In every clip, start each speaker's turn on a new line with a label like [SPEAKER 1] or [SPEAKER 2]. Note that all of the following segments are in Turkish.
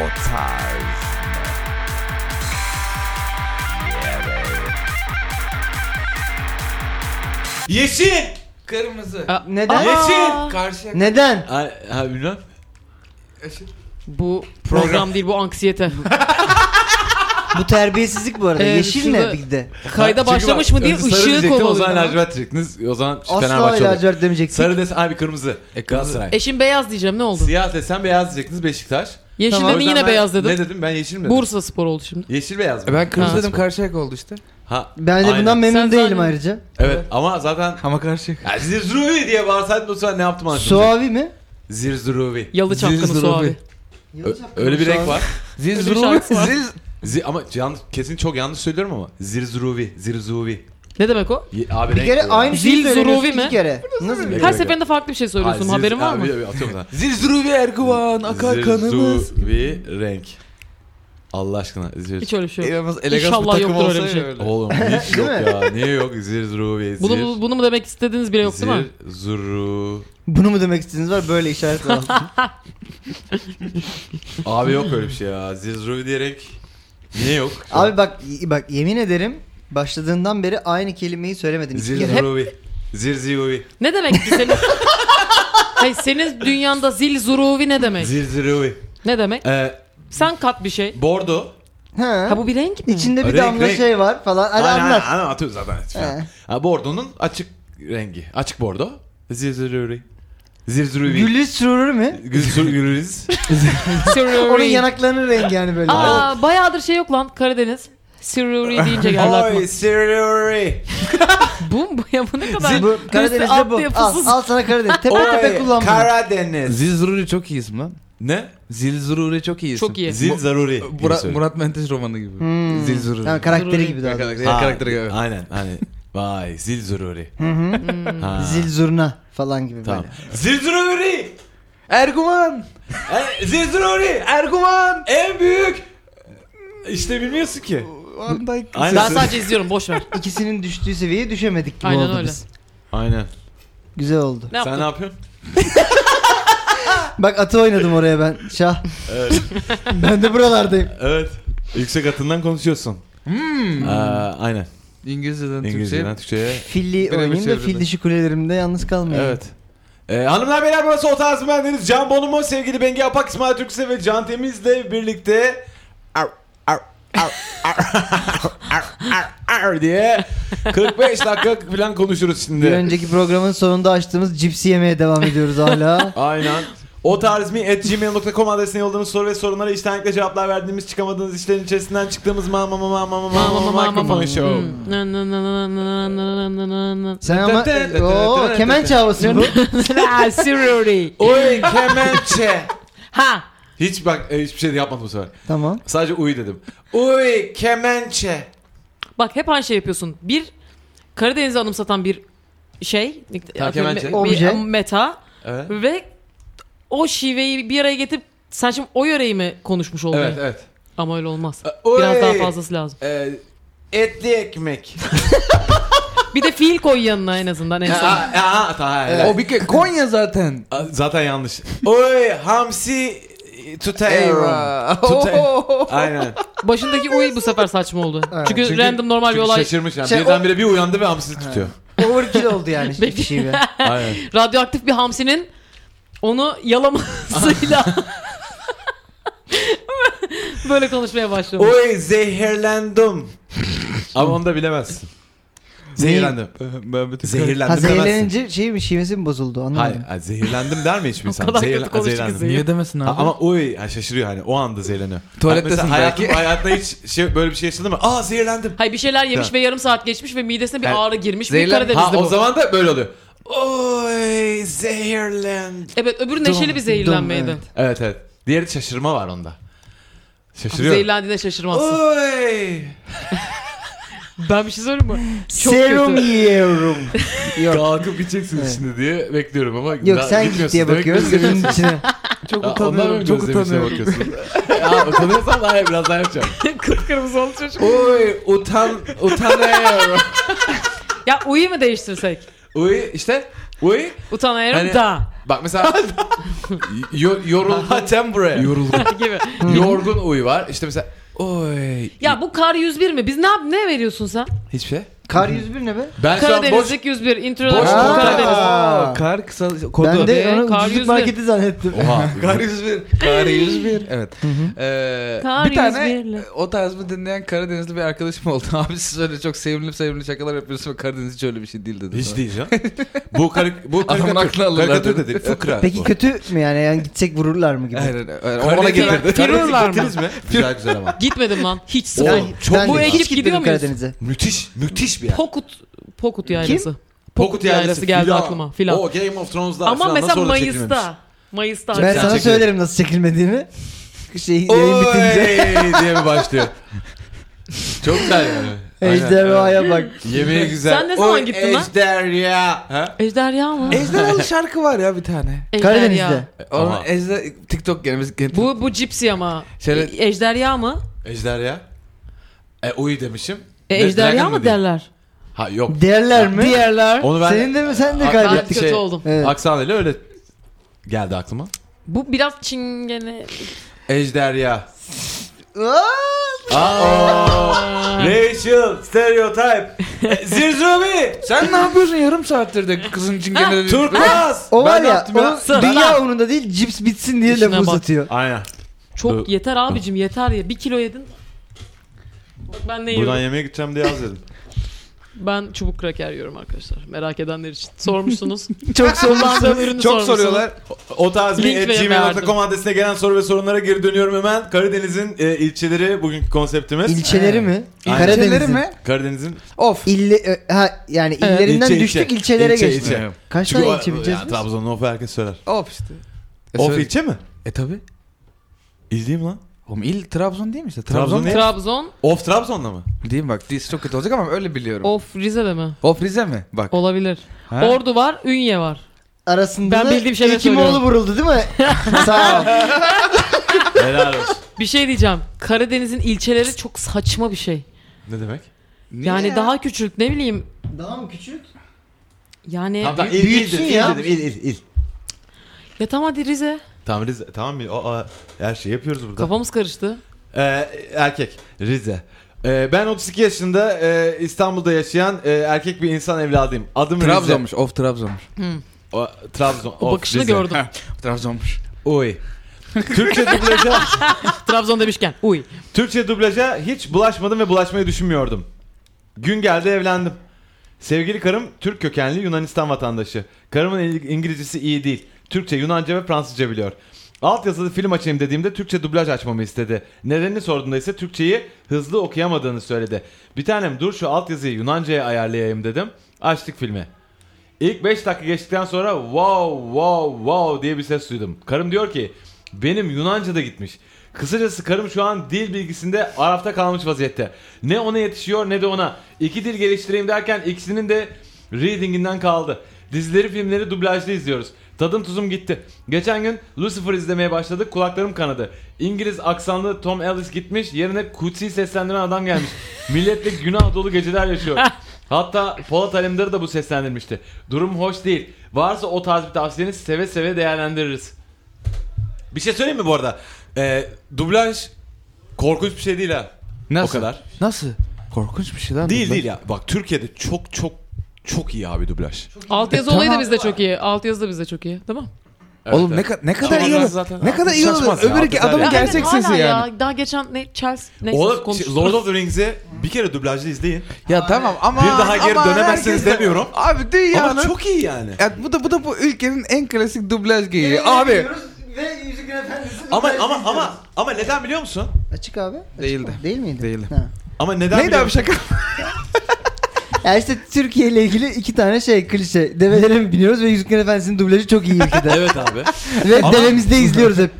[SPEAKER 1] O tarz
[SPEAKER 2] Yeşil.
[SPEAKER 3] Kırmızı.
[SPEAKER 4] Neden?
[SPEAKER 2] Yeşil.
[SPEAKER 3] Karşıya
[SPEAKER 4] Neden?
[SPEAKER 2] Ha, ha bilmem.
[SPEAKER 5] Bu program değil bu anksiyete.
[SPEAKER 4] Bu terbiyesizlik bu arada.
[SPEAKER 5] Evet,
[SPEAKER 4] Yeşil
[SPEAKER 5] şurada-
[SPEAKER 4] ne bir de?
[SPEAKER 5] Kayda
[SPEAKER 2] Çünkü bak,
[SPEAKER 5] başlamış mı diye
[SPEAKER 2] önce sarı
[SPEAKER 5] ışığı
[SPEAKER 2] diyecektim, O zaman
[SPEAKER 5] kovalıyor.
[SPEAKER 2] lacivert diyecektiniz. O zaman
[SPEAKER 4] Asla
[SPEAKER 2] Fenerbahçe olur.
[SPEAKER 4] lacivert demeyeceksin.
[SPEAKER 2] Sarı desen abi kırmızı. E, Galatasaray.
[SPEAKER 5] Eşim beyaz diyeceğim ne oldu?
[SPEAKER 2] Siyah desen beyaz diyecektiniz Beşiktaş.
[SPEAKER 5] Yeşil
[SPEAKER 2] O
[SPEAKER 5] dedin
[SPEAKER 2] yüzden
[SPEAKER 5] yine
[SPEAKER 2] ben-
[SPEAKER 5] beyaz dedim.
[SPEAKER 2] Ne dedim ben yeşil mi dedim?
[SPEAKER 5] Bursa E, spor oldu şimdi.
[SPEAKER 2] Yeşil beyaz mı?
[SPEAKER 3] E Ben kırmızı
[SPEAKER 5] Ha.
[SPEAKER 3] dedim Karşıyaka oldu işte.
[SPEAKER 2] Ha,
[SPEAKER 4] Ben de
[SPEAKER 2] aynen.
[SPEAKER 4] bundan memnun
[SPEAKER 5] Sen
[SPEAKER 4] değilim
[SPEAKER 5] zaten-
[SPEAKER 4] ayrıca.
[SPEAKER 2] Evet ama zaten
[SPEAKER 3] Ama Karşıyaka.
[SPEAKER 2] ya, Zirzuruvi diye bağırsaydın o zaman ne yaptım anlaşılmayacak.
[SPEAKER 4] Suavi mi?
[SPEAKER 2] Zirzuruvi.
[SPEAKER 5] Yalı çapkını
[SPEAKER 3] Zilzal
[SPEAKER 5] su
[SPEAKER 3] abi.
[SPEAKER 5] abi.
[SPEAKER 2] Ö- öyle bir renk var.
[SPEAKER 3] Zil
[SPEAKER 5] Öyle bir
[SPEAKER 3] zurul.
[SPEAKER 5] şarkısı var.
[SPEAKER 3] Zil.
[SPEAKER 2] Zi- ama yanlış, kesin çok yanlış söylüyorum ama. Zirzuruvi. Zirzuvi.
[SPEAKER 5] Ne demek o?
[SPEAKER 2] Ye- abi
[SPEAKER 4] Bir
[SPEAKER 2] renk
[SPEAKER 4] kere
[SPEAKER 2] bu ya.
[SPEAKER 4] aynı şeyi
[SPEAKER 5] Zil zuruvi
[SPEAKER 4] söylüyorsun iki
[SPEAKER 5] mi?
[SPEAKER 4] kere. Nasıl
[SPEAKER 2] demek?
[SPEAKER 4] bir
[SPEAKER 5] Her
[SPEAKER 2] Yok,
[SPEAKER 5] seferinde farklı bir şey söylüyorsun.
[SPEAKER 2] Hayır,
[SPEAKER 5] Haberin
[SPEAKER 2] zir-
[SPEAKER 5] var
[SPEAKER 2] Ha,
[SPEAKER 5] mı?
[SPEAKER 2] bir- bir- Atıyorum sana.
[SPEAKER 3] Zil zurul Erguvan akar kanımız.
[SPEAKER 2] Zirzuvi renk. Allah aşkına. Zir-
[SPEAKER 5] Hiç öyle bir şey yok.
[SPEAKER 3] Yalnız elegans bir
[SPEAKER 5] İnşallah
[SPEAKER 3] takım
[SPEAKER 5] yoktur
[SPEAKER 3] olsa
[SPEAKER 5] öyle
[SPEAKER 3] ya
[SPEAKER 5] bir şey.
[SPEAKER 3] öyle.
[SPEAKER 2] Oğlum hiç yok
[SPEAKER 4] Değil mi?
[SPEAKER 2] ya. Niye yok? Zirzuvi. Zir,
[SPEAKER 5] Bunu, bu- bunu mu demek istediğiniz bile yok değil mi?
[SPEAKER 2] Zirzuru.
[SPEAKER 4] Bunu mu demek istediniz var böyle işaret var.
[SPEAKER 2] Abi yok öyle bir şey ya. Zirzuvi diye renk. Niye yok?
[SPEAKER 4] Abi bak y- bak yemin ederim başladığından beri aynı kelimeyi söylemedin iki kere.
[SPEAKER 2] Zirzuvi. Zirzuvi.
[SPEAKER 5] Ne demek ki senin... Hayır, senin dünyanda zil zuruvi ne demek?
[SPEAKER 2] Zirzuvi.
[SPEAKER 5] Ne demek?
[SPEAKER 2] Ee,
[SPEAKER 5] Sen kat bir şey.
[SPEAKER 2] bordo.
[SPEAKER 4] Ha.
[SPEAKER 5] Ha bu bir renk mi?
[SPEAKER 4] İçinde bir
[SPEAKER 2] Renk,
[SPEAKER 4] damla
[SPEAKER 2] renk.
[SPEAKER 4] şey var falan. Hadi
[SPEAKER 2] Aynen,
[SPEAKER 4] anlat.
[SPEAKER 2] aynen, atıyor zaten. şey
[SPEAKER 4] He.
[SPEAKER 2] Ha, bordo'nun açık rengi. Açık bordo. Zirzuvi. Zirzuvi.
[SPEAKER 4] Güllü sürürü mü?
[SPEAKER 2] Gülürüz.
[SPEAKER 5] Siruri.
[SPEAKER 4] Onun yanaklarının rengi yani böyle.
[SPEAKER 5] Aa bayağıdır şey yok lan Karadeniz. Siruri deyince geldi aklıma.
[SPEAKER 2] Oy Siruri.
[SPEAKER 5] Bu, bu ya bu ne kadar?
[SPEAKER 4] Bu Karadeniz'de bu. Al,
[SPEAKER 5] yapısız.
[SPEAKER 4] al sana Karadeniz. Tepe tepe
[SPEAKER 2] Oy
[SPEAKER 4] kullan bunu.
[SPEAKER 2] Karadeniz.
[SPEAKER 3] Zil zurul çok iyi isim lan.
[SPEAKER 2] Ne?
[SPEAKER 3] Zil zurul çok iyi isim.
[SPEAKER 5] Çok iyi.
[SPEAKER 2] Zil
[SPEAKER 3] Mu-
[SPEAKER 2] zaruri. gibi
[SPEAKER 3] Murat,
[SPEAKER 2] söyle.
[SPEAKER 3] Murat Menteş romanı gibi.
[SPEAKER 4] Hmm.
[SPEAKER 3] Zil zurul.
[SPEAKER 4] Yani karakteri gibi daha. doğrusu.
[SPEAKER 3] Karakteri-
[SPEAKER 2] Ha,
[SPEAKER 3] karakteri gibi.
[SPEAKER 2] Aynen hani. Vay zil zaruri.
[SPEAKER 4] Hı hı.
[SPEAKER 5] Hmm.
[SPEAKER 2] Ha,
[SPEAKER 4] Zil zurna falan gibi
[SPEAKER 2] Tamam.
[SPEAKER 4] böyle.
[SPEAKER 2] Zil zaruri.
[SPEAKER 3] Erguvan.
[SPEAKER 2] E, Zil zaruri.
[SPEAKER 3] Erguvan.
[SPEAKER 2] En büyük. İşte bilmiyorsun ki.
[SPEAKER 3] Van Dijk.
[SPEAKER 2] Aynen.
[SPEAKER 5] Ben sadece izliyorum boş ver.
[SPEAKER 4] İkisinin düştüğü seviyeye düşemedik gibi
[SPEAKER 5] Aynen
[SPEAKER 4] oldu
[SPEAKER 5] öyle.
[SPEAKER 4] biz.
[SPEAKER 2] Aynen.
[SPEAKER 4] Güzel oldu.
[SPEAKER 5] Ne
[SPEAKER 2] Sen ne
[SPEAKER 5] yaptın?
[SPEAKER 2] yapıyorsun?
[SPEAKER 4] Bak atı oynadım oraya ben. Şah.
[SPEAKER 2] Evet.
[SPEAKER 4] ben de buralardayım.
[SPEAKER 2] evet. Yüksek atından konuşuyorsun.
[SPEAKER 3] Hmm.
[SPEAKER 2] Aa, aynen.
[SPEAKER 3] İngilizceden Türkçe'ye.
[SPEAKER 2] İngilizceden Türkçe'ye.
[SPEAKER 4] Filli
[SPEAKER 3] Direkt
[SPEAKER 4] oynayayım da
[SPEAKER 3] çevirdim.
[SPEAKER 4] fil dişi kulelerimde yalnız kalmayayım.
[SPEAKER 2] Evet. Ee, hanımlar beyler burası o tarz ben Deniz. Can Bonomo, sevgili Bengi Apak, İsmail Türkse ve Can Temiz'le birlikte ar, ar, ar, ar, ar, ar, ar diye 45 dakika falan konuşuruz
[SPEAKER 4] Bir
[SPEAKER 2] şimdi.
[SPEAKER 4] önceki programın sonunda açtığımız cipsi yemeye devam ediyoruz hala.
[SPEAKER 2] Aynen. O tarz mi at gmail.com adresine yolladığınız soru ve sorunlara içtenlikle cevaplar verdiğimiz çıkamadığınız işlerin içerisinden çıktığımız ma ma ma ma ma ma ma ma ma mikrofon show.
[SPEAKER 5] Hmm. Na, na, na, na, na, na, na, na, na.
[SPEAKER 4] Sen ama Oo, kemençe havası bu.
[SPEAKER 5] Ha, Siruri.
[SPEAKER 2] Oy kemençe.
[SPEAKER 5] Ha.
[SPEAKER 2] Hiç bak e, hiçbir şey de yapmadım bu sefer.
[SPEAKER 4] tamam.
[SPEAKER 2] Sadece uy dedim. Uy kemençe.
[SPEAKER 5] Bak hep aynı şey yapıyorsun. Bir Karadeniz'i anımsatan bir şey. atıyorum
[SPEAKER 2] kemençe.
[SPEAKER 5] me- bir
[SPEAKER 4] Obje.
[SPEAKER 5] Meta.
[SPEAKER 2] Evet.
[SPEAKER 5] Ve o şiveyi bir araya getirip sen şimdi o yöreyi mi konuşmuş oldun?
[SPEAKER 2] Evet evet.
[SPEAKER 5] Ama öyle olmaz.
[SPEAKER 2] Oy.
[SPEAKER 5] Biraz daha fazlası lazım.
[SPEAKER 2] Ee, etli ekmek.
[SPEAKER 5] Bir de fiil koy yanına en azından en
[SPEAKER 2] Ha,
[SPEAKER 5] son.
[SPEAKER 2] ha, ha, ha, evet.
[SPEAKER 3] O bir ke- Konya zaten.
[SPEAKER 2] A- Zaten yanlış. Oy hamsi tutayım.
[SPEAKER 3] Eyvah.
[SPEAKER 2] Tuta-
[SPEAKER 3] Oho.
[SPEAKER 2] Aynen.
[SPEAKER 5] Başındaki uy bu sefer saçma oldu. çünkü,
[SPEAKER 2] Çünkü-
[SPEAKER 5] random normal bir
[SPEAKER 2] Çünkü
[SPEAKER 5] olay.
[SPEAKER 2] şaşırmış yani.
[SPEAKER 4] Şey,
[SPEAKER 2] Birdenbire bir uyandı ve hamsi tutuyor.
[SPEAKER 4] Overkill oldu yani şimdi
[SPEAKER 5] Peki.
[SPEAKER 4] şive.
[SPEAKER 2] Aynen.
[SPEAKER 5] Radyoaktif bir hamsinin onu yalamasıyla böyle konuşmaya başlamış.
[SPEAKER 2] Oy zehirlendim. Ama onu da bilemezsin. Zehirlendim.
[SPEAKER 3] Ben bütün
[SPEAKER 4] Ha
[SPEAKER 2] Zehirlendim demezsin.
[SPEAKER 4] zehirlenince şey mi şivesi mi bozuldu
[SPEAKER 2] Hayır,
[SPEAKER 4] anlamadım.
[SPEAKER 2] ha, zehirlendim der mi hiçbir insan?
[SPEAKER 5] kadar kötü
[SPEAKER 2] Zehirlen-
[SPEAKER 5] konuştu ki
[SPEAKER 2] zehirlendim.
[SPEAKER 5] zehir.
[SPEAKER 3] Niye demesin abi?
[SPEAKER 2] Ha, ama oy ha, şaşırıyor hani o anda zehirleniyor.
[SPEAKER 3] Tuvalettesin
[SPEAKER 2] Mesela hayatın,
[SPEAKER 3] belki.
[SPEAKER 2] hayatında hiç şey, böyle bir şey yaşadın mı? Aa zehirlendim.
[SPEAKER 5] Hayır bir şeyler yemiş
[SPEAKER 2] Ha.
[SPEAKER 5] ve yarım saat geçmiş ve midesine bir
[SPEAKER 2] Evet.
[SPEAKER 5] ağrı girmiş.
[SPEAKER 3] Zehirlen-
[SPEAKER 5] Bir Karadeniz'de
[SPEAKER 2] Ha
[SPEAKER 5] bu.
[SPEAKER 2] o zaman da böyle oluyor. Oy zehirlendim.
[SPEAKER 5] Evet öbürü neşeli bir zehirlenmeydi.
[SPEAKER 4] evet.
[SPEAKER 2] Evet evet. Diğeri şaşırma var onda. Şaşırıyor.
[SPEAKER 5] Zehirlendiğine şaşırmazsın.
[SPEAKER 2] Oy.
[SPEAKER 5] ben bir şey söyleyeyim mi? Çok
[SPEAKER 4] Serum
[SPEAKER 5] kötü.
[SPEAKER 4] yiyorum. Yok.
[SPEAKER 2] Kalkıp içeceksiniz
[SPEAKER 4] Evet.
[SPEAKER 2] şimdi diye bekliyorum ama
[SPEAKER 4] Yok
[SPEAKER 2] daha
[SPEAKER 4] sen git
[SPEAKER 2] gitmiyorsunuz.
[SPEAKER 4] diye
[SPEAKER 2] Demek
[SPEAKER 4] bakıyoruz
[SPEAKER 2] gözlerim-
[SPEAKER 4] gözünün içine.
[SPEAKER 3] çok
[SPEAKER 2] Ya, ondan mı
[SPEAKER 3] utanıyorum. Çok
[SPEAKER 2] gözlerim içine
[SPEAKER 3] utanıyorum.
[SPEAKER 2] bakıyorsun? ya utanıyorsan daha biraz daha yapacağım.
[SPEAKER 5] Kıpkırmızı oldu çocuk.
[SPEAKER 2] Oy utan utanıyorum.
[SPEAKER 5] Ya uyu mu değiştirsek?
[SPEAKER 2] Oy işte oy
[SPEAKER 5] Utanıyorum
[SPEAKER 2] Hani-
[SPEAKER 5] da.
[SPEAKER 2] bak mesela
[SPEAKER 1] Yo- yorulgun,
[SPEAKER 3] Hatem buraya.
[SPEAKER 1] yorulgun,
[SPEAKER 5] gibi.
[SPEAKER 1] yorgun uyu var. İşte mesela oy.
[SPEAKER 5] Ya bu kar 101 mi? Biz ne yap ne veriyorsun sen?
[SPEAKER 1] Hiçbir şey.
[SPEAKER 4] Kar 101 ne be?
[SPEAKER 1] Ben şu an boş
[SPEAKER 5] Karadenizlik 101.
[SPEAKER 1] boş
[SPEAKER 5] Introduction
[SPEAKER 4] Ha.
[SPEAKER 5] to Karadeniz.
[SPEAKER 3] Aa, kar kısa kodu.
[SPEAKER 4] Ben de
[SPEAKER 5] Ee,
[SPEAKER 4] onu
[SPEAKER 5] kar
[SPEAKER 4] ucuzluk
[SPEAKER 5] 101.
[SPEAKER 4] marketi zannettim.
[SPEAKER 1] Oha.
[SPEAKER 3] Kar 101. Kar 101. Evet. Ee,
[SPEAKER 5] Kar
[SPEAKER 3] bir tane
[SPEAKER 5] 101'le.
[SPEAKER 3] o tarz mı dinleyen Karadenizli bir arkadaşım oldu. Abi siz öyle çok sevimli sevimli şakalar yapıyorsunuz ama Karadeniz hiç öyle bir şey değil dedi.
[SPEAKER 1] Hiç
[SPEAKER 3] bana.
[SPEAKER 1] değil canım. bu karik bu
[SPEAKER 3] Adamın aklını
[SPEAKER 1] karikatür.
[SPEAKER 3] alırlar
[SPEAKER 1] Karikatür
[SPEAKER 3] dedi.
[SPEAKER 1] dedi. Fıkra.
[SPEAKER 4] Peki
[SPEAKER 1] bu.
[SPEAKER 4] kötü mü yani? yani gidecek vururlar mı gibi?
[SPEAKER 3] Aynen, aynen. O Ona
[SPEAKER 1] Karadeniz-
[SPEAKER 3] getirdi.
[SPEAKER 5] Firullar mı?
[SPEAKER 1] Gittiniz mi? Güzel güzel ama.
[SPEAKER 5] Gitmedim lan. Hiç sıfır.
[SPEAKER 1] Oğlum, çok
[SPEAKER 4] ben
[SPEAKER 5] bu
[SPEAKER 4] de
[SPEAKER 5] ekip
[SPEAKER 4] hiç
[SPEAKER 5] gidiyor
[SPEAKER 4] gitmedim
[SPEAKER 5] muyuz?
[SPEAKER 4] Karadeniz'e.
[SPEAKER 1] Müthiş, müthiş bir yer.
[SPEAKER 5] Pokut Pokut yaylası.
[SPEAKER 1] Pokut yaylası
[SPEAKER 5] geldi
[SPEAKER 1] filan.
[SPEAKER 5] aklıma filan.
[SPEAKER 1] O Game of Thrones'da
[SPEAKER 5] Ama
[SPEAKER 1] filan
[SPEAKER 5] mesela
[SPEAKER 1] nasıl orada çekilmemiş?
[SPEAKER 5] Mayıs'ta. Mayıs'ta.
[SPEAKER 4] Ben sana
[SPEAKER 1] çekiyor.
[SPEAKER 4] söylerim nasıl çekilmediğini. Şey, yayın
[SPEAKER 1] Oy
[SPEAKER 4] bitince.
[SPEAKER 1] diye bir başlıyor. Çok güzel yani. Aynen.
[SPEAKER 4] Ejderhaya bak.
[SPEAKER 1] Yemeği güzel.
[SPEAKER 5] Sen ne zaman
[SPEAKER 1] Oy,
[SPEAKER 5] gittin lan?
[SPEAKER 1] Ejderha. Ha?
[SPEAKER 5] Ejderha mı?
[SPEAKER 3] Ejderhalı şarkı var ya bir tane.
[SPEAKER 5] Ejderha.
[SPEAKER 4] Karadeniz'de.
[SPEAKER 3] Onun
[SPEAKER 1] E, Ama-
[SPEAKER 3] ejder TikTok gene biz
[SPEAKER 5] Bu bu cipsi ama.
[SPEAKER 3] Şöyle-
[SPEAKER 5] E- Ejderha mı?
[SPEAKER 1] Ejderha. E uyu demişim.
[SPEAKER 5] E,
[SPEAKER 1] Ne,
[SPEAKER 5] ejderha
[SPEAKER 1] dragon
[SPEAKER 5] mı
[SPEAKER 1] da değil.
[SPEAKER 5] derler?
[SPEAKER 1] Ha yok.
[SPEAKER 4] Değerler mi?
[SPEAKER 5] Diğerler.
[SPEAKER 1] Onu ben
[SPEAKER 4] Senin de mi? Sen de
[SPEAKER 1] Ben-
[SPEAKER 5] Ben
[SPEAKER 4] kaybettin.
[SPEAKER 1] Kaybettik
[SPEAKER 5] kötü
[SPEAKER 1] şey.
[SPEAKER 5] oldum.
[SPEAKER 4] Evet.
[SPEAKER 1] aksanıyla öyle geldi aklıma.
[SPEAKER 5] Bu biraz çingene.
[SPEAKER 1] Ejderha.
[SPEAKER 4] Aa!
[SPEAKER 1] Aa.
[SPEAKER 2] Racial stereotype. Zirzubi.
[SPEAKER 3] Sen ne yapıyorsun yarım saattir de kızın çingeneleri.
[SPEAKER 2] Turkuaz.
[SPEAKER 4] Ah, O var
[SPEAKER 1] Ben
[SPEAKER 4] ya,
[SPEAKER 1] yaptım ya.
[SPEAKER 4] o
[SPEAKER 5] Sıra.
[SPEAKER 4] dünya umurunda değil, cips bitsin diye
[SPEAKER 5] İşine
[SPEAKER 4] lafı
[SPEAKER 5] bak.
[SPEAKER 4] uzatıyor.
[SPEAKER 2] Aynen.
[SPEAKER 5] Çok
[SPEAKER 1] Ö-
[SPEAKER 5] yeter abicim yeter ya. Bir kilo yedin. Bak ben ne yiyorum?
[SPEAKER 2] Buradan yemeğe gideceğim diye az dedim.
[SPEAKER 5] Ben çubuk kraker yiyorum arkadaşlar. Merak edenler için. Sormuşsunuz.
[SPEAKER 4] Çok
[SPEAKER 5] Kullandığım
[SPEAKER 4] sorumlusunuz.
[SPEAKER 5] ürünü
[SPEAKER 2] Çok
[SPEAKER 5] sormuşsunuz.
[SPEAKER 2] soruyorlar. O- O tarz bir
[SPEAKER 5] Link
[SPEAKER 2] et
[SPEAKER 5] verin, verdim.
[SPEAKER 2] gmail.com adresine gelen soru ve sorunlara geri dönüyorum hemen. Karadeniz'in e, ilçeleri bugünkü konseptimiz.
[SPEAKER 4] İlçeleri mi?
[SPEAKER 2] Aynen.
[SPEAKER 3] Karadenizli
[SPEAKER 4] Karadeniz'in.
[SPEAKER 3] mi?
[SPEAKER 2] Karadeniz'in
[SPEAKER 3] Of.
[SPEAKER 4] İlli, e, ha, yani
[SPEAKER 5] Evet.
[SPEAKER 4] illerinden
[SPEAKER 2] İlçe,
[SPEAKER 4] düştük
[SPEAKER 2] ilçe.
[SPEAKER 4] ilçelere
[SPEAKER 2] İlçe,
[SPEAKER 4] geçtik.
[SPEAKER 2] ilçe.
[SPEAKER 3] Evet.
[SPEAKER 4] Kaç
[SPEAKER 2] Çünkü
[SPEAKER 4] tane
[SPEAKER 2] o-
[SPEAKER 4] ilçe bileceğiz
[SPEAKER 2] ya,
[SPEAKER 4] biz?
[SPEAKER 2] Trabzon'un of herkes söyler.
[SPEAKER 3] Of işte. E,
[SPEAKER 2] Of
[SPEAKER 3] söyle-
[SPEAKER 2] ilçe mi?
[SPEAKER 3] E tabi.
[SPEAKER 2] İl değil mi lan?
[SPEAKER 3] Oğlum il Trabzon değil mi işte?
[SPEAKER 2] Trabzon
[SPEAKER 3] Trabzon,
[SPEAKER 2] ne?
[SPEAKER 5] Trabzon.
[SPEAKER 2] Of Trabzon'da mı?
[SPEAKER 3] değil mi bak? Diz çok kötü olacak ama öyle biliyorum. Of,
[SPEAKER 5] Of Rize'de mi?
[SPEAKER 3] Rize mi? Bak.
[SPEAKER 5] Olabilir.
[SPEAKER 3] Ha?
[SPEAKER 5] Ordu var, Ünye var.
[SPEAKER 4] Arasında
[SPEAKER 5] Ben
[SPEAKER 4] da
[SPEAKER 5] bildiğim şeyleri
[SPEAKER 4] Hekimoğlu
[SPEAKER 5] söylüyorum.
[SPEAKER 4] vuruldu değil mi? Sağ ol.
[SPEAKER 2] Helal olsun.
[SPEAKER 5] Bir şey diyeceğim. Karadeniz'in ilçeleri çok saçma bir şey.
[SPEAKER 2] ne demek?
[SPEAKER 3] Niye
[SPEAKER 5] Yani
[SPEAKER 3] ya?
[SPEAKER 5] daha küçült ne bileyim.
[SPEAKER 4] Daha mı küçük?
[SPEAKER 5] Yani
[SPEAKER 2] Tamam, tamam,
[SPEAKER 4] büyütsün
[SPEAKER 2] dedim,
[SPEAKER 4] ya.
[SPEAKER 2] il dedim, il, il, il.
[SPEAKER 5] ya tamam hadi Rize.
[SPEAKER 2] Tamam Rize, tamam mı? Aa, her şeyi yapıyoruz burada.
[SPEAKER 5] Kafamız karıştı.
[SPEAKER 2] Ee, erkek, Rize. Ee, ben 32 yaşında e, İstanbul'da yaşayan e, erkek bir insan evladıyım. Adım Rize.
[SPEAKER 3] Trabzonmuş. Of Trabzonmuş.
[SPEAKER 2] O, Trabzon.
[SPEAKER 5] O
[SPEAKER 2] of,
[SPEAKER 5] bakışını
[SPEAKER 2] Rize.
[SPEAKER 5] gördüm.
[SPEAKER 3] Trabzonmuş.
[SPEAKER 2] Oy. Türkçe dublaja,
[SPEAKER 5] Trabzon demişken. Uy.
[SPEAKER 2] Türkçe dublaja hiç bulaşmadım ve bulaşmayı düşünmüyordum. Gün geldi evlendim. Sevgili karım Türk kökenli Yunanistan vatandaşı. Karımın İng- İngilizcesi iyi değil. Türkçe, Yunanca ve Fransızca biliyor. Alt yazılı film açayım dediğimde Türkçe dublaj açmamı istedi. Nedenini sorduğumda ise Türkçeyi hızlı okuyamadığını söyledi. Bir tanem dur şu alt yazıyı Yunanca'ya ayarlayayım dedim. Açtık filmi. İlk 5 dakika geçtikten sonra wow wow wow diye bir ses duydum. Karım diyor ki benim Yunanca da gitmiş. Kısacası karım şu an dil bilgisinde Araf'ta kalmış vaziyette. Ne ona yetişiyor ne de ona. İki dil geliştireyim derken ikisinin de readinginden kaldı. Dizileri filmleri dublajlı izliyoruz. Tadım tuzum gitti. Geçen gün Lucifer izlemeye başladık kulaklarım kanadı. İngiliz aksanlı Tom Ellis gitmiş yerine Kutsi seslendiren adam gelmiş. Milletle günah dolu geceler yaşıyor. Hatta Polat Alemdar'ı da bu seslendirmişti. Durum hoş değil. Varsa o tarz bir tavsiyeniz seve seve değerlendiririz. Bir şey söyleyeyim mi bu arada? Ee, dublaj korkunç bir şey değil ha.
[SPEAKER 3] Nasıl?
[SPEAKER 2] O kadar.
[SPEAKER 3] Nasıl? Korkunç bir şey lan.
[SPEAKER 2] Değil
[SPEAKER 3] Dur,
[SPEAKER 2] değil ya. Bak Türkiye'de çok çok çok iyi abi dublaj.
[SPEAKER 5] Altyazı
[SPEAKER 3] E,
[SPEAKER 5] olayı da
[SPEAKER 3] tamam.
[SPEAKER 5] bizde çok iyi. Altyazı da bizde çok iyi. Tamam.
[SPEAKER 2] Evet,
[SPEAKER 3] Oğlum
[SPEAKER 2] evet.
[SPEAKER 3] ne, ka- ne kadar
[SPEAKER 2] Ama
[SPEAKER 3] iyi
[SPEAKER 2] ben
[SPEAKER 3] olur.
[SPEAKER 2] zaten-
[SPEAKER 3] Ne kadar iyi olur.
[SPEAKER 2] Saçmaz ya,
[SPEAKER 3] Öbürü ki
[SPEAKER 2] hakikaten
[SPEAKER 3] adamın
[SPEAKER 2] ya.
[SPEAKER 3] gerçek
[SPEAKER 5] hala
[SPEAKER 3] sesi yani.
[SPEAKER 5] Ya. Daha geçen ne Chelsea neyse
[SPEAKER 2] Oğlum şey,
[SPEAKER 5] konuştuk.
[SPEAKER 2] Lord of the Rings'i bir kere dublajlı izleyin.
[SPEAKER 3] Ya tamam ama
[SPEAKER 2] Bir daha geri
[SPEAKER 3] ama
[SPEAKER 2] dönemezsiniz
[SPEAKER 3] herkes de-
[SPEAKER 2] demiyorum.
[SPEAKER 3] Abi
[SPEAKER 2] Ama
[SPEAKER 3] dünyanın
[SPEAKER 2] çok iyi yani.
[SPEAKER 3] ya bu da bu da bu ülkenin en klasik dublaj geyiği. Ee, Abi
[SPEAKER 4] Ve Yüzüklerin Efendisi.
[SPEAKER 2] Ama ama ama ama neden biliyor musun?
[SPEAKER 4] Açık abi. Açık
[SPEAKER 3] Değildi.
[SPEAKER 4] mı? Değil miydi?
[SPEAKER 3] Değildi.
[SPEAKER 4] Ha.
[SPEAKER 2] Ama neden
[SPEAKER 3] neydi
[SPEAKER 2] biliyor
[SPEAKER 3] abi
[SPEAKER 2] musun?
[SPEAKER 3] şaka?
[SPEAKER 4] Ya işte Türkiye ile ilgili iki tane şey klişe. Develere mi biniyoruz ve Yüzüklerin Efendisi'nin dublajı çok iyi ülkede.
[SPEAKER 2] Evet abi.
[SPEAKER 4] ve
[SPEAKER 2] Ama-
[SPEAKER 4] devemizde izliyoruz hep.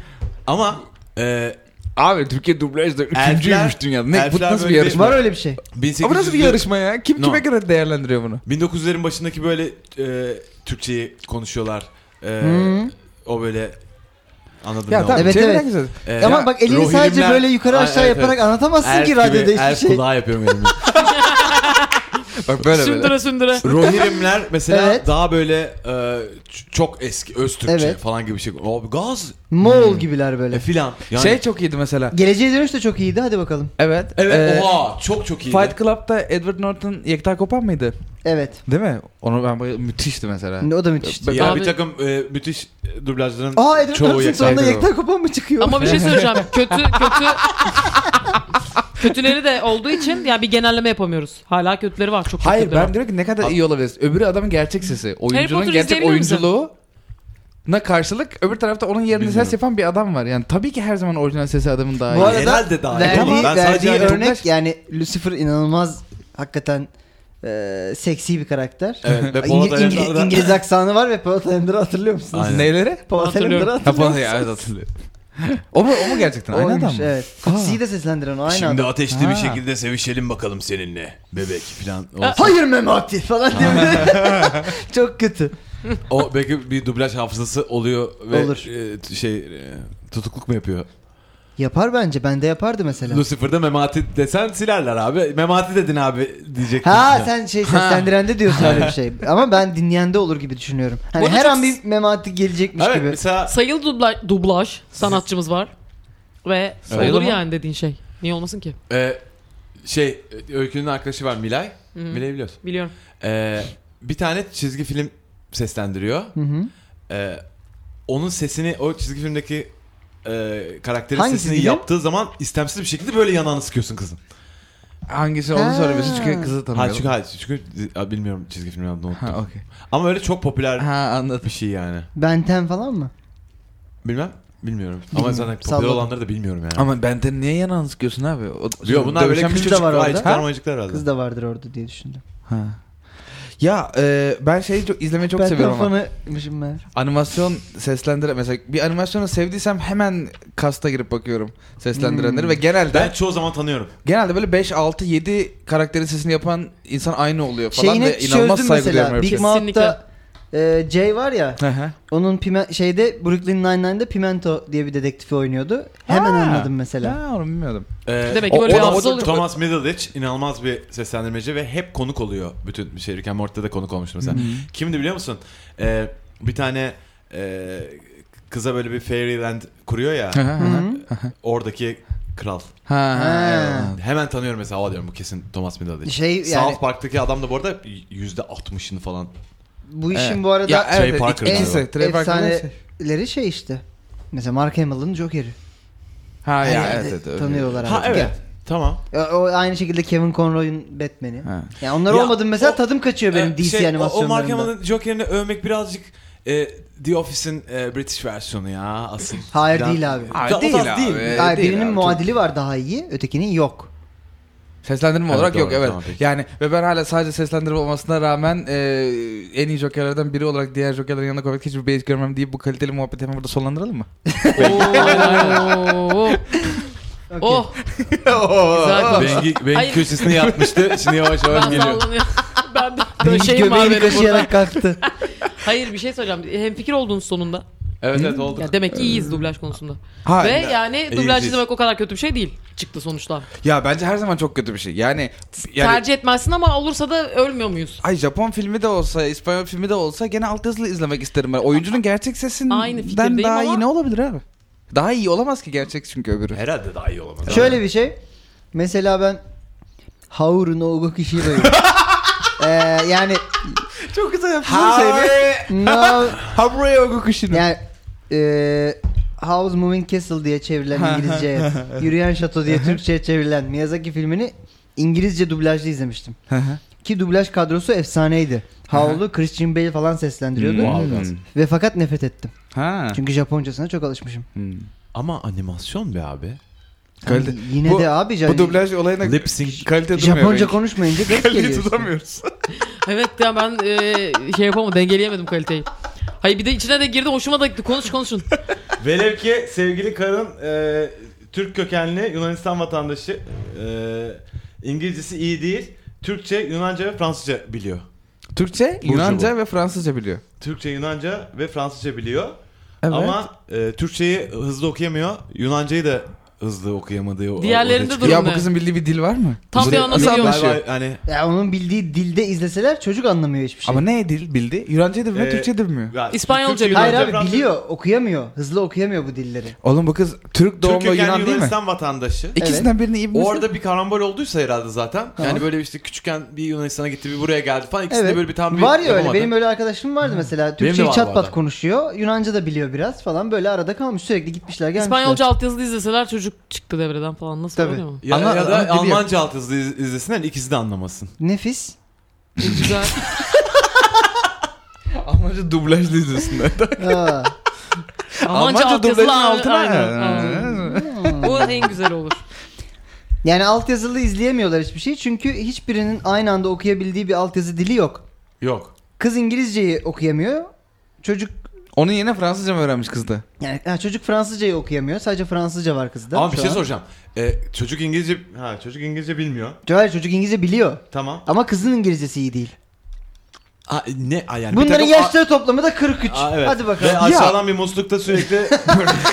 [SPEAKER 2] Ama e,
[SPEAKER 3] Abi Türkiye dublajda üçüncüymüş
[SPEAKER 2] Elfler-
[SPEAKER 3] dünyada. Ne bu
[SPEAKER 2] elfler
[SPEAKER 3] nasıl bir
[SPEAKER 2] böyle
[SPEAKER 3] yarışma?
[SPEAKER 4] Var öyle bir şey.
[SPEAKER 2] 1800'lü
[SPEAKER 3] Ama nasıl bir yarışma ya? Kim
[SPEAKER 2] No.
[SPEAKER 3] kime göre değerlendiriyor bunu?
[SPEAKER 2] 1900'lerin başındaki böyle e, Türkçeyi konuşuyorlar. E,
[SPEAKER 4] Hı.
[SPEAKER 2] O böyle anladın
[SPEAKER 3] Ya
[SPEAKER 2] ne
[SPEAKER 3] tamam
[SPEAKER 2] olduğunu.
[SPEAKER 4] Evet,
[SPEAKER 3] çevren
[SPEAKER 4] evet.
[SPEAKER 3] güzel.
[SPEAKER 2] E,
[SPEAKER 4] Ama
[SPEAKER 2] ya,
[SPEAKER 4] bak elini
[SPEAKER 2] Rohirrimler-
[SPEAKER 4] sadece böyle yukarı
[SPEAKER 2] Ay,
[SPEAKER 4] aşağı
[SPEAKER 2] evet, Er
[SPEAKER 4] yaparak
[SPEAKER 2] evet.
[SPEAKER 4] anlatamazsın
[SPEAKER 3] şey?
[SPEAKER 2] Elf
[SPEAKER 4] ki
[SPEAKER 2] gibi,
[SPEAKER 4] radyoda
[SPEAKER 2] elf
[SPEAKER 4] hiçbir şey.
[SPEAKER 2] kulağı yapıyorum elimi.
[SPEAKER 3] Bak böyle böyle.
[SPEAKER 5] Sündüre sündüre.
[SPEAKER 2] Rohirrimler mesela
[SPEAKER 4] Evet.
[SPEAKER 2] daha böyle e, ç- çok eski öz Türkçe
[SPEAKER 4] Evet.
[SPEAKER 2] falan gibi bir şey. Abi gaz
[SPEAKER 4] Moğol gibiler
[SPEAKER 2] e,
[SPEAKER 4] böyle.
[SPEAKER 2] filan. Yani,
[SPEAKER 3] Şey çok iyiydi mesela.
[SPEAKER 4] Geleceğe dönüş de çok iyiydi hadi bakalım.
[SPEAKER 3] Evet.
[SPEAKER 2] evet
[SPEAKER 3] e,
[SPEAKER 2] oha çok çok iyi.
[SPEAKER 3] Fight Club'da Edward Norton Yekta Kopan mıydı?
[SPEAKER 4] Evet.
[SPEAKER 3] Değil mi? Onu ben bayıldım. Müthişti mesela.
[SPEAKER 4] O da müthişti.
[SPEAKER 2] Ya
[SPEAKER 5] Abi-
[SPEAKER 2] bir takım e, müthiş e, dublajların
[SPEAKER 4] Aa Edward
[SPEAKER 2] çoğu
[SPEAKER 4] Norton
[SPEAKER 2] yakın.
[SPEAKER 4] sonunda
[SPEAKER 3] yakın.
[SPEAKER 4] yekten kopan mı çıkıyor?
[SPEAKER 5] Ama bir şey söyleyeceğim. Kötü kötü kötüleri de olduğu için ya bir genelleme yapamıyoruz. Hala kötüleri var. Çok çok
[SPEAKER 3] Hayır
[SPEAKER 5] kötüleri
[SPEAKER 3] ben
[SPEAKER 5] var.
[SPEAKER 3] diyorum ki ne kadar iyi olabilir. Öbürü adamın gerçek sesi. Oyuncunun
[SPEAKER 5] Potter
[SPEAKER 3] gerçek
[SPEAKER 5] izleyebilir misin?
[SPEAKER 3] oyunculuğu na karşılık öbür tarafta onun yerine ses
[SPEAKER 2] Bilmiyorum.
[SPEAKER 3] yapan bir adam var. Yani tabii ki her zaman orijinal sesi adamın daha
[SPEAKER 4] Bu
[SPEAKER 3] iyi.
[SPEAKER 4] arada
[SPEAKER 2] Herhalde daha iyi.
[SPEAKER 4] verdiği,
[SPEAKER 2] Ama ben sadece hani
[SPEAKER 4] verdiği
[SPEAKER 2] yani
[SPEAKER 4] örnek
[SPEAKER 3] toplaş-
[SPEAKER 4] yani Lucifer inanılmaz hakikaten e, seksi bir karakter.
[SPEAKER 2] Evet ve
[SPEAKER 4] İngi-
[SPEAKER 2] Polat
[SPEAKER 4] İngi-
[SPEAKER 2] Alemdar'da-
[SPEAKER 4] İngiliz aksanı var ve Polat Alemdar'ı hatırlıyor musunuz?
[SPEAKER 2] Aynen.
[SPEAKER 3] Neyleri?
[SPEAKER 4] Polat
[SPEAKER 5] Hatırlıyorum.
[SPEAKER 4] Alemdar'ı
[SPEAKER 3] Ha
[SPEAKER 4] hatırlıyor
[SPEAKER 3] bana
[SPEAKER 4] musunuz?
[SPEAKER 3] ya evet hatırlıyorum. O mu, o mu gerçekten? Aynı
[SPEAKER 4] Oymuş,
[SPEAKER 3] adam mı?
[SPEAKER 4] Evet. Kutsi'yi de seslendiren o aynı
[SPEAKER 2] Şimdi
[SPEAKER 4] adam.
[SPEAKER 2] ateşli bir
[SPEAKER 3] Ha.
[SPEAKER 2] şekilde sevişelim bakalım seninle bebek filan. O,
[SPEAKER 4] Hayır Memati falan diye. Çok kötü.
[SPEAKER 2] o belki bir dublaj hafızası oluyor ve
[SPEAKER 4] Olur.
[SPEAKER 2] e, t- şey e, tutukluk mu yapıyor?
[SPEAKER 4] Yapar bence. Ben de yapardı mesela.
[SPEAKER 2] Lucifer'da Memati desen silerler abi. Memati dedin abi diyecek.
[SPEAKER 4] Ha sen şey seslendirende diyorsun öyle bir şey. Ama ben dinleyende olur gibi düşünüyorum. Hani
[SPEAKER 5] Burada
[SPEAKER 4] her
[SPEAKER 5] çok
[SPEAKER 4] an
[SPEAKER 5] s-
[SPEAKER 4] bir memati gelecekmiş
[SPEAKER 2] Evet
[SPEAKER 4] gibi.
[SPEAKER 2] mesela
[SPEAKER 5] Sayılı dubla- dublaj sanatçımız var. Ve
[SPEAKER 3] Sayılı
[SPEAKER 5] olur
[SPEAKER 3] mı?
[SPEAKER 5] yani dediğin şey. Niye olmasın ki?
[SPEAKER 2] e, şey Öykü'nün arkadaşı var Milay. Milay biliyorsun.
[SPEAKER 5] Biliyorum.
[SPEAKER 2] E, bir tane çizgi film seslendiriyor.
[SPEAKER 4] Hı hı.
[SPEAKER 2] E, onun sesini o çizgi filmdeki e, karakterin
[SPEAKER 4] Hangi
[SPEAKER 2] sesini
[SPEAKER 4] çizgi film?
[SPEAKER 2] yaptığı zaman istemsiz bir şekilde böyle yanağını sıkıyorsun kızın.
[SPEAKER 3] Hangisi onu
[SPEAKER 4] Ha.
[SPEAKER 3] söylemiyorsun çünkü kızı
[SPEAKER 2] Ha
[SPEAKER 3] tanımıyorum.
[SPEAKER 2] çünkü, ha, çünkü ha, bilmiyorum çizgi filmin adını unuttum.
[SPEAKER 3] Ha okey.
[SPEAKER 2] Ama öyle çok popüler
[SPEAKER 3] Ha anladım.
[SPEAKER 2] bir şey yani.
[SPEAKER 4] Benten falan mı?
[SPEAKER 2] Bilmem. Bilmiyorum. Ama
[SPEAKER 4] Bilmiyorum.
[SPEAKER 2] zaten popüler
[SPEAKER 4] Salladım.
[SPEAKER 2] olanları da bilmiyorum yani.
[SPEAKER 3] Ama benden niye yanağını sıkıyorsun abi? O,
[SPEAKER 2] Yo, bunlar böyle
[SPEAKER 4] Dövüşen
[SPEAKER 2] küçük
[SPEAKER 4] kız da
[SPEAKER 2] küçük
[SPEAKER 4] var orada.
[SPEAKER 2] ayıcıklar
[SPEAKER 4] Ha?
[SPEAKER 2] mayıcıklar herhalde.
[SPEAKER 4] Kız da vardır orada diye düşündüm.
[SPEAKER 3] Ha. Ya e, ben şeyi çok, izlemeyi çok
[SPEAKER 4] ben
[SPEAKER 3] seviyorum ama.
[SPEAKER 4] fanıymışım ben.
[SPEAKER 3] Animasyon seslendire mesela bir animasyonu sevdiysem hemen kasta girip bakıyorum seslendirenleri ve genelde
[SPEAKER 2] Hmm. Ben çoğu zaman tanıyorum.
[SPEAKER 3] genelde böyle 5 6 7 karakterin sesini yapan insan aynı oluyor falan
[SPEAKER 4] Şeyini
[SPEAKER 3] ve inanılmaz
[SPEAKER 4] çözdüm
[SPEAKER 3] saygı duyuyorum
[SPEAKER 4] mesela.
[SPEAKER 3] öyle bir
[SPEAKER 4] Big
[SPEAKER 3] şey.
[SPEAKER 4] Mouth'ta e, Jay var ya.
[SPEAKER 3] Hı hı.
[SPEAKER 4] Onun pime- şeyde Brooklyn Nine-Nine'de Pimento diye bir dedektifi oynuyordu. Hemen
[SPEAKER 3] Ha.
[SPEAKER 4] anladım mesela.
[SPEAKER 3] Ha onu bilmiyordum.
[SPEAKER 2] Ee,
[SPEAKER 5] Demek ki böyle
[SPEAKER 2] o-
[SPEAKER 5] bir
[SPEAKER 2] o da-
[SPEAKER 5] hafıza oluyor.
[SPEAKER 2] Thomas Middleditch inanılmaz bir seslendirmeci ve hep konuk oluyor. Bütün şey Rick and Morty'de de konuk olmuştu mesela. Kimdi biliyor musun? Ee, bir tane e, kıza böyle bir fairyland kuruyor ya.
[SPEAKER 3] Hı hı hı.
[SPEAKER 4] Hı
[SPEAKER 3] ha.
[SPEAKER 4] hı.
[SPEAKER 2] oradaki kral.
[SPEAKER 3] ha,
[SPEAKER 4] Ha.
[SPEAKER 2] Hemen tanıyorum mesela. O diyorum bu kesin Thomas Middleditch.
[SPEAKER 4] Şey yani
[SPEAKER 2] South Park'taki adam da bu arada %60'ını falan
[SPEAKER 4] bu
[SPEAKER 3] evet.
[SPEAKER 4] işin bu arada
[SPEAKER 3] ya,
[SPEAKER 2] Trey
[SPEAKER 3] evet,
[SPEAKER 2] Parker
[SPEAKER 3] ikisi,
[SPEAKER 2] galiba.
[SPEAKER 3] Trey Parker'ın şey.
[SPEAKER 4] efsaneleri şey işte. Mesela Mark Hamill'ın Joker'i.
[SPEAKER 3] Ha ya
[SPEAKER 4] Her yerde
[SPEAKER 3] evet, evet.
[SPEAKER 4] tanıyorlar
[SPEAKER 2] Ha
[SPEAKER 4] artık.
[SPEAKER 2] evet.
[SPEAKER 4] Ya.
[SPEAKER 2] Tamam.
[SPEAKER 4] Ya, o aynı şekilde Kevin Conroy'un Batman'i. Ya
[SPEAKER 3] Ha. e,
[SPEAKER 4] onlar
[SPEAKER 2] Ya,
[SPEAKER 4] olmadı mı mesela
[SPEAKER 2] o-
[SPEAKER 4] tadım kaçıyor benim
[SPEAKER 2] Ee,
[SPEAKER 4] DC
[SPEAKER 2] şey, o- O Mark
[SPEAKER 4] animasyonlarında.
[SPEAKER 2] Hamill'ın Joker'ini övmek birazcık e, The Office'in e, British versiyonu ya asıl.
[SPEAKER 4] Hayır
[SPEAKER 2] Falan.
[SPEAKER 4] değil abi.
[SPEAKER 3] Hayır,
[SPEAKER 2] O
[SPEAKER 3] değil
[SPEAKER 2] tarz
[SPEAKER 3] abi.
[SPEAKER 2] mi?
[SPEAKER 4] Hayır,
[SPEAKER 3] değil
[SPEAKER 4] birinin
[SPEAKER 3] abi,
[SPEAKER 4] muadili var daha iyi, ötekinin yok.
[SPEAKER 3] Seslendirme
[SPEAKER 2] Evet,
[SPEAKER 3] olarak
[SPEAKER 2] doğru,
[SPEAKER 3] yok evet.
[SPEAKER 2] tamam, peki.
[SPEAKER 3] yani ve ben hala sadece seslendirme olmasına rağmen e, en iyi jokerlerden biri olarak diğer jokerlerin yanına koymak hiçbir beis görmem deyip bu kaliteli muhabbeti hemen burada sonlandıralım mı?
[SPEAKER 5] Oo. Oh. Güzel konuştun.
[SPEAKER 2] Bengi, Bengi
[SPEAKER 5] Hayır.
[SPEAKER 2] köşesine yatmıştı. Şimdi yavaş
[SPEAKER 5] Ben
[SPEAKER 2] yavaş geliyor.
[SPEAKER 5] sallanıyorum. ben de
[SPEAKER 4] Bengi
[SPEAKER 5] döşeğim şey var
[SPEAKER 4] göbeğini
[SPEAKER 5] benim burada.
[SPEAKER 4] kaşıyarak kalktı.
[SPEAKER 5] Hayır bir şey söyleyeceğim. Hem fikir olduğunuz sonunda.
[SPEAKER 2] Evet evet oldu.
[SPEAKER 5] Ya demek ki iyiyiz dublaj konusunda.
[SPEAKER 3] Ha,
[SPEAKER 5] Ve
[SPEAKER 3] ya-
[SPEAKER 5] yani
[SPEAKER 2] İyiyiz,
[SPEAKER 5] dublaj
[SPEAKER 2] E, iyiyiz.
[SPEAKER 5] izlemek o kadar kötü bir şey değil. Çıktı sonuçta.
[SPEAKER 3] Ya bence her zaman çok kötü bir şey. Yani, yani
[SPEAKER 5] Tercih etmezsin ama olursa da ölmüyor muyuz?
[SPEAKER 3] ay Japon filmi de olsa, İspanyol filmi de olsa gene altyazılı izlemek isterim ben. Oyuncunun gerçek
[SPEAKER 5] Aynı
[SPEAKER 3] sesinden
[SPEAKER 5] fikirdeyim
[SPEAKER 3] daha
[SPEAKER 5] ama-
[SPEAKER 3] iyi ne olabilir abi? Daha iyi olamaz ki gerçek çünkü öbürü.
[SPEAKER 2] Herhalde daha iyi olamaz.
[SPEAKER 4] Şöyle bir şey. Mesela ben Haoru no Ugokushi ee, yani
[SPEAKER 3] Çok güzel
[SPEAKER 4] no
[SPEAKER 3] Hamuraya Ogukuşu'nu.
[SPEAKER 4] yani e, House Moving Castle diye çevrilen İngilizceye, Yürüyen Şato diye Türkçe'ye çevrilen Miyazaki filmini İngilizce dublajlı izlemiştim. Ki dublaj kadrosu efsaneydi. Howl'u Christian Bale falan seslendiriyordu. Ve fakat nefret ettim.
[SPEAKER 3] Ha.
[SPEAKER 4] Çünkü Japoncasına çok alışmışım.
[SPEAKER 3] Hmm.
[SPEAKER 2] Ama animasyon be abi.
[SPEAKER 3] Kalite-
[SPEAKER 4] Yani Hani yine
[SPEAKER 3] Bu-
[SPEAKER 4] de abi yani
[SPEAKER 3] Bu dublaj olayına
[SPEAKER 2] Lip sync.
[SPEAKER 3] kalite durmuyor.
[SPEAKER 4] Japonca
[SPEAKER 3] belki.
[SPEAKER 4] konuşmayınca garip geliyor.
[SPEAKER 3] Kaliteyi
[SPEAKER 4] işte.
[SPEAKER 3] tutamıyoruz.
[SPEAKER 5] Evet ya ben e, şey yapamadım dengeleyemedim kaliteyi. Hayır bir de içine de girdi hoşuma da gitti. Konuş konuşun.
[SPEAKER 2] Velev ki sevgili karın e, Türk kökenli Yunanistan vatandaşı. E, İngilizcesi iyi değil. Türkçe, Yunanca ve Fransızca biliyor.
[SPEAKER 3] Türkçe,
[SPEAKER 2] Burcu
[SPEAKER 3] Yunanca ve Fransızca biliyor.
[SPEAKER 2] Türkçe, Yunanca ve Fransızca biliyor.
[SPEAKER 3] Evet.
[SPEAKER 2] Ama e, Türkçeyi hızlı okuyamıyor. Yunancayı da hızlı okuyamadığı o.
[SPEAKER 5] Diğerlerinde
[SPEAKER 2] orada
[SPEAKER 5] durum
[SPEAKER 3] ya bu
[SPEAKER 5] ne?
[SPEAKER 3] kızın bildiği bir dil var mı?
[SPEAKER 5] Tam
[SPEAKER 2] çıkıyor.
[SPEAKER 5] bir anlamı
[SPEAKER 3] Nasıl
[SPEAKER 5] yok.
[SPEAKER 2] Galiba
[SPEAKER 3] anlaşıyor?
[SPEAKER 2] Hani
[SPEAKER 4] Ya onun bildiği dilde izleseler çocuk anlamıyor hiçbir şey.
[SPEAKER 3] Ama ne dil bildi? Yunanca da bilmiyor,
[SPEAKER 2] Ee,
[SPEAKER 3] Türkçe de bilmiyor.
[SPEAKER 2] ya,
[SPEAKER 5] İspanyolca
[SPEAKER 2] Türkçe-
[SPEAKER 4] Hayır
[SPEAKER 2] Fransız-
[SPEAKER 4] abi biliyor, okuyamıyor. Hızlı okuyamıyor bu dilleri.
[SPEAKER 3] Oğlum bu kız Türk
[SPEAKER 2] Türk
[SPEAKER 3] doğumlu
[SPEAKER 2] kökenli
[SPEAKER 3] Yunan değil mi?
[SPEAKER 2] Yunanistan vatandaşı.
[SPEAKER 3] İkisinden birini iyi
[SPEAKER 2] O
[SPEAKER 3] bilirsin.
[SPEAKER 2] Orada bir karambol olduysa herhalde zaten. Yani böyle işte küçükken bir Yunanistan'a gitti bir buraya geldi falan. İkisi de böyle bir tam bir
[SPEAKER 4] Var ya öyle.
[SPEAKER 2] yapamadı.
[SPEAKER 4] Benim öyle arkadaşım vardı mesela.
[SPEAKER 2] de
[SPEAKER 4] Türkçeyi
[SPEAKER 2] var bu
[SPEAKER 4] çat pat
[SPEAKER 2] arada.
[SPEAKER 4] konuşuyor. Yunanca da biliyor biraz falan. Böyle arada kalmış. Sürekli gitmişler gelmişler.
[SPEAKER 5] İspanyolca altyazılı izleseler çocuk çıktı devreden falan. Nasıl
[SPEAKER 4] Tabii.
[SPEAKER 5] öyle mi?
[SPEAKER 2] ya, ya
[SPEAKER 3] Anla-
[SPEAKER 2] da
[SPEAKER 3] anla- biliyor.
[SPEAKER 2] Almanca alt hızlı iz- izlesinler ikisi de anlamasın.
[SPEAKER 4] Nefis.
[SPEAKER 5] Güzel.
[SPEAKER 3] Almanca dublajlı izliyorsun.
[SPEAKER 4] Aa.
[SPEAKER 5] Almanca
[SPEAKER 3] dublajın
[SPEAKER 5] altyazılı altına. Aynen. aynen.
[SPEAKER 3] altına.
[SPEAKER 5] Bu en güzel olur.
[SPEAKER 4] Yani altyazılı izleyemiyorlar hiçbir şey. Çünkü hiçbirinin aynı anda okuyabildiği bir altyazı dili yok.
[SPEAKER 2] Yok.
[SPEAKER 4] Kız İngilizceyi okuyamıyor. Çocuk
[SPEAKER 3] Onun yerine Fransızca mı öğrenmiş kız da?
[SPEAKER 4] yani ha, çocuk Fransızcayı okuyamıyor. Sadece Fransızca var kızda.
[SPEAKER 2] Ama bir
[SPEAKER 4] şu
[SPEAKER 2] şey
[SPEAKER 4] an.
[SPEAKER 2] soracağım. Ee, çocuk İngilizce ha çocuk İngilizce bilmiyor.
[SPEAKER 4] Hayır çocuk İngilizce biliyor.
[SPEAKER 2] Tamam.
[SPEAKER 4] Ama kızın İngilizcesi iyi değil.
[SPEAKER 2] Ha, ne ha, yani bir
[SPEAKER 4] Bunların
[SPEAKER 2] takım-
[SPEAKER 4] yaşları toplamı da 43.
[SPEAKER 2] Aa, evet.
[SPEAKER 4] Hadi
[SPEAKER 2] Ve
[SPEAKER 4] bakalım.
[SPEAKER 2] aşağıdan bir muslukta sürekli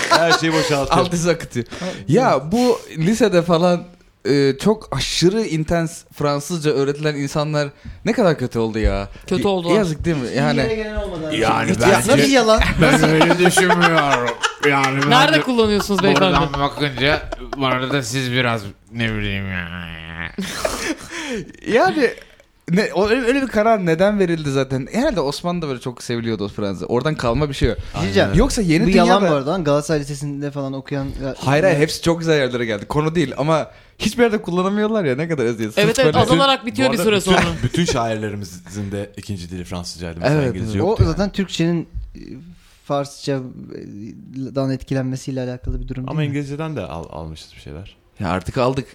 [SPEAKER 2] her şeyi boşaltıyor.
[SPEAKER 3] Altı akıtıyor. Ya bu lisede falan e, çok aşırı intens Fransızca öğretilen insanlar ne kadar kötü oldu ya.
[SPEAKER 5] Kötü
[SPEAKER 3] Y-
[SPEAKER 5] oldular.
[SPEAKER 3] Yazık değil mi? Yani
[SPEAKER 1] Yani
[SPEAKER 4] Ya, nasıl
[SPEAKER 1] bence
[SPEAKER 4] yalan?
[SPEAKER 1] ben öyle düşünmüyorum. Yani ben
[SPEAKER 5] Nerede kullanıyorsunuz beyefendi?
[SPEAKER 1] Oradan bakınca bu arada siz biraz ne bileyim ya.
[SPEAKER 3] yani ne, o- öyle öyle bir karar neden verildi zaten? Herhalde Osmanlı'da böyle çok seviliyordu o Fransız. Oradan kalma bir şey. yok.
[SPEAKER 4] Diyeceğim.
[SPEAKER 3] Yoksa yeni
[SPEAKER 4] bu
[SPEAKER 3] dünyada...
[SPEAKER 4] yalan bu arada lan. Galatasaray Lisesi'nde falan okuyan...
[SPEAKER 3] Hayır hayır hepsi çok güzel yerlere geldi. Konu değil ama hiçbir yerde kullanamıyorlar ya ne kadar eziyet. Sırf
[SPEAKER 5] Evet evet
[SPEAKER 3] böyle-
[SPEAKER 5] azalarak bitiyor
[SPEAKER 2] Bu
[SPEAKER 5] bir
[SPEAKER 2] arada
[SPEAKER 5] süre sonra.
[SPEAKER 2] Bütün, bütün şairlerimizin de ikinci dili Fransızcaydı. Mesela
[SPEAKER 3] Evet,
[SPEAKER 2] İngilizce
[SPEAKER 4] O
[SPEAKER 2] yoktu. yani.
[SPEAKER 4] zaten Türkçenin e, Farsçadan etkilenmesiyle alakalı bir durum
[SPEAKER 2] Ama
[SPEAKER 4] değil mi?
[SPEAKER 2] İngilizceden de al- almışız bir şeyler.
[SPEAKER 3] Ya artık aldık.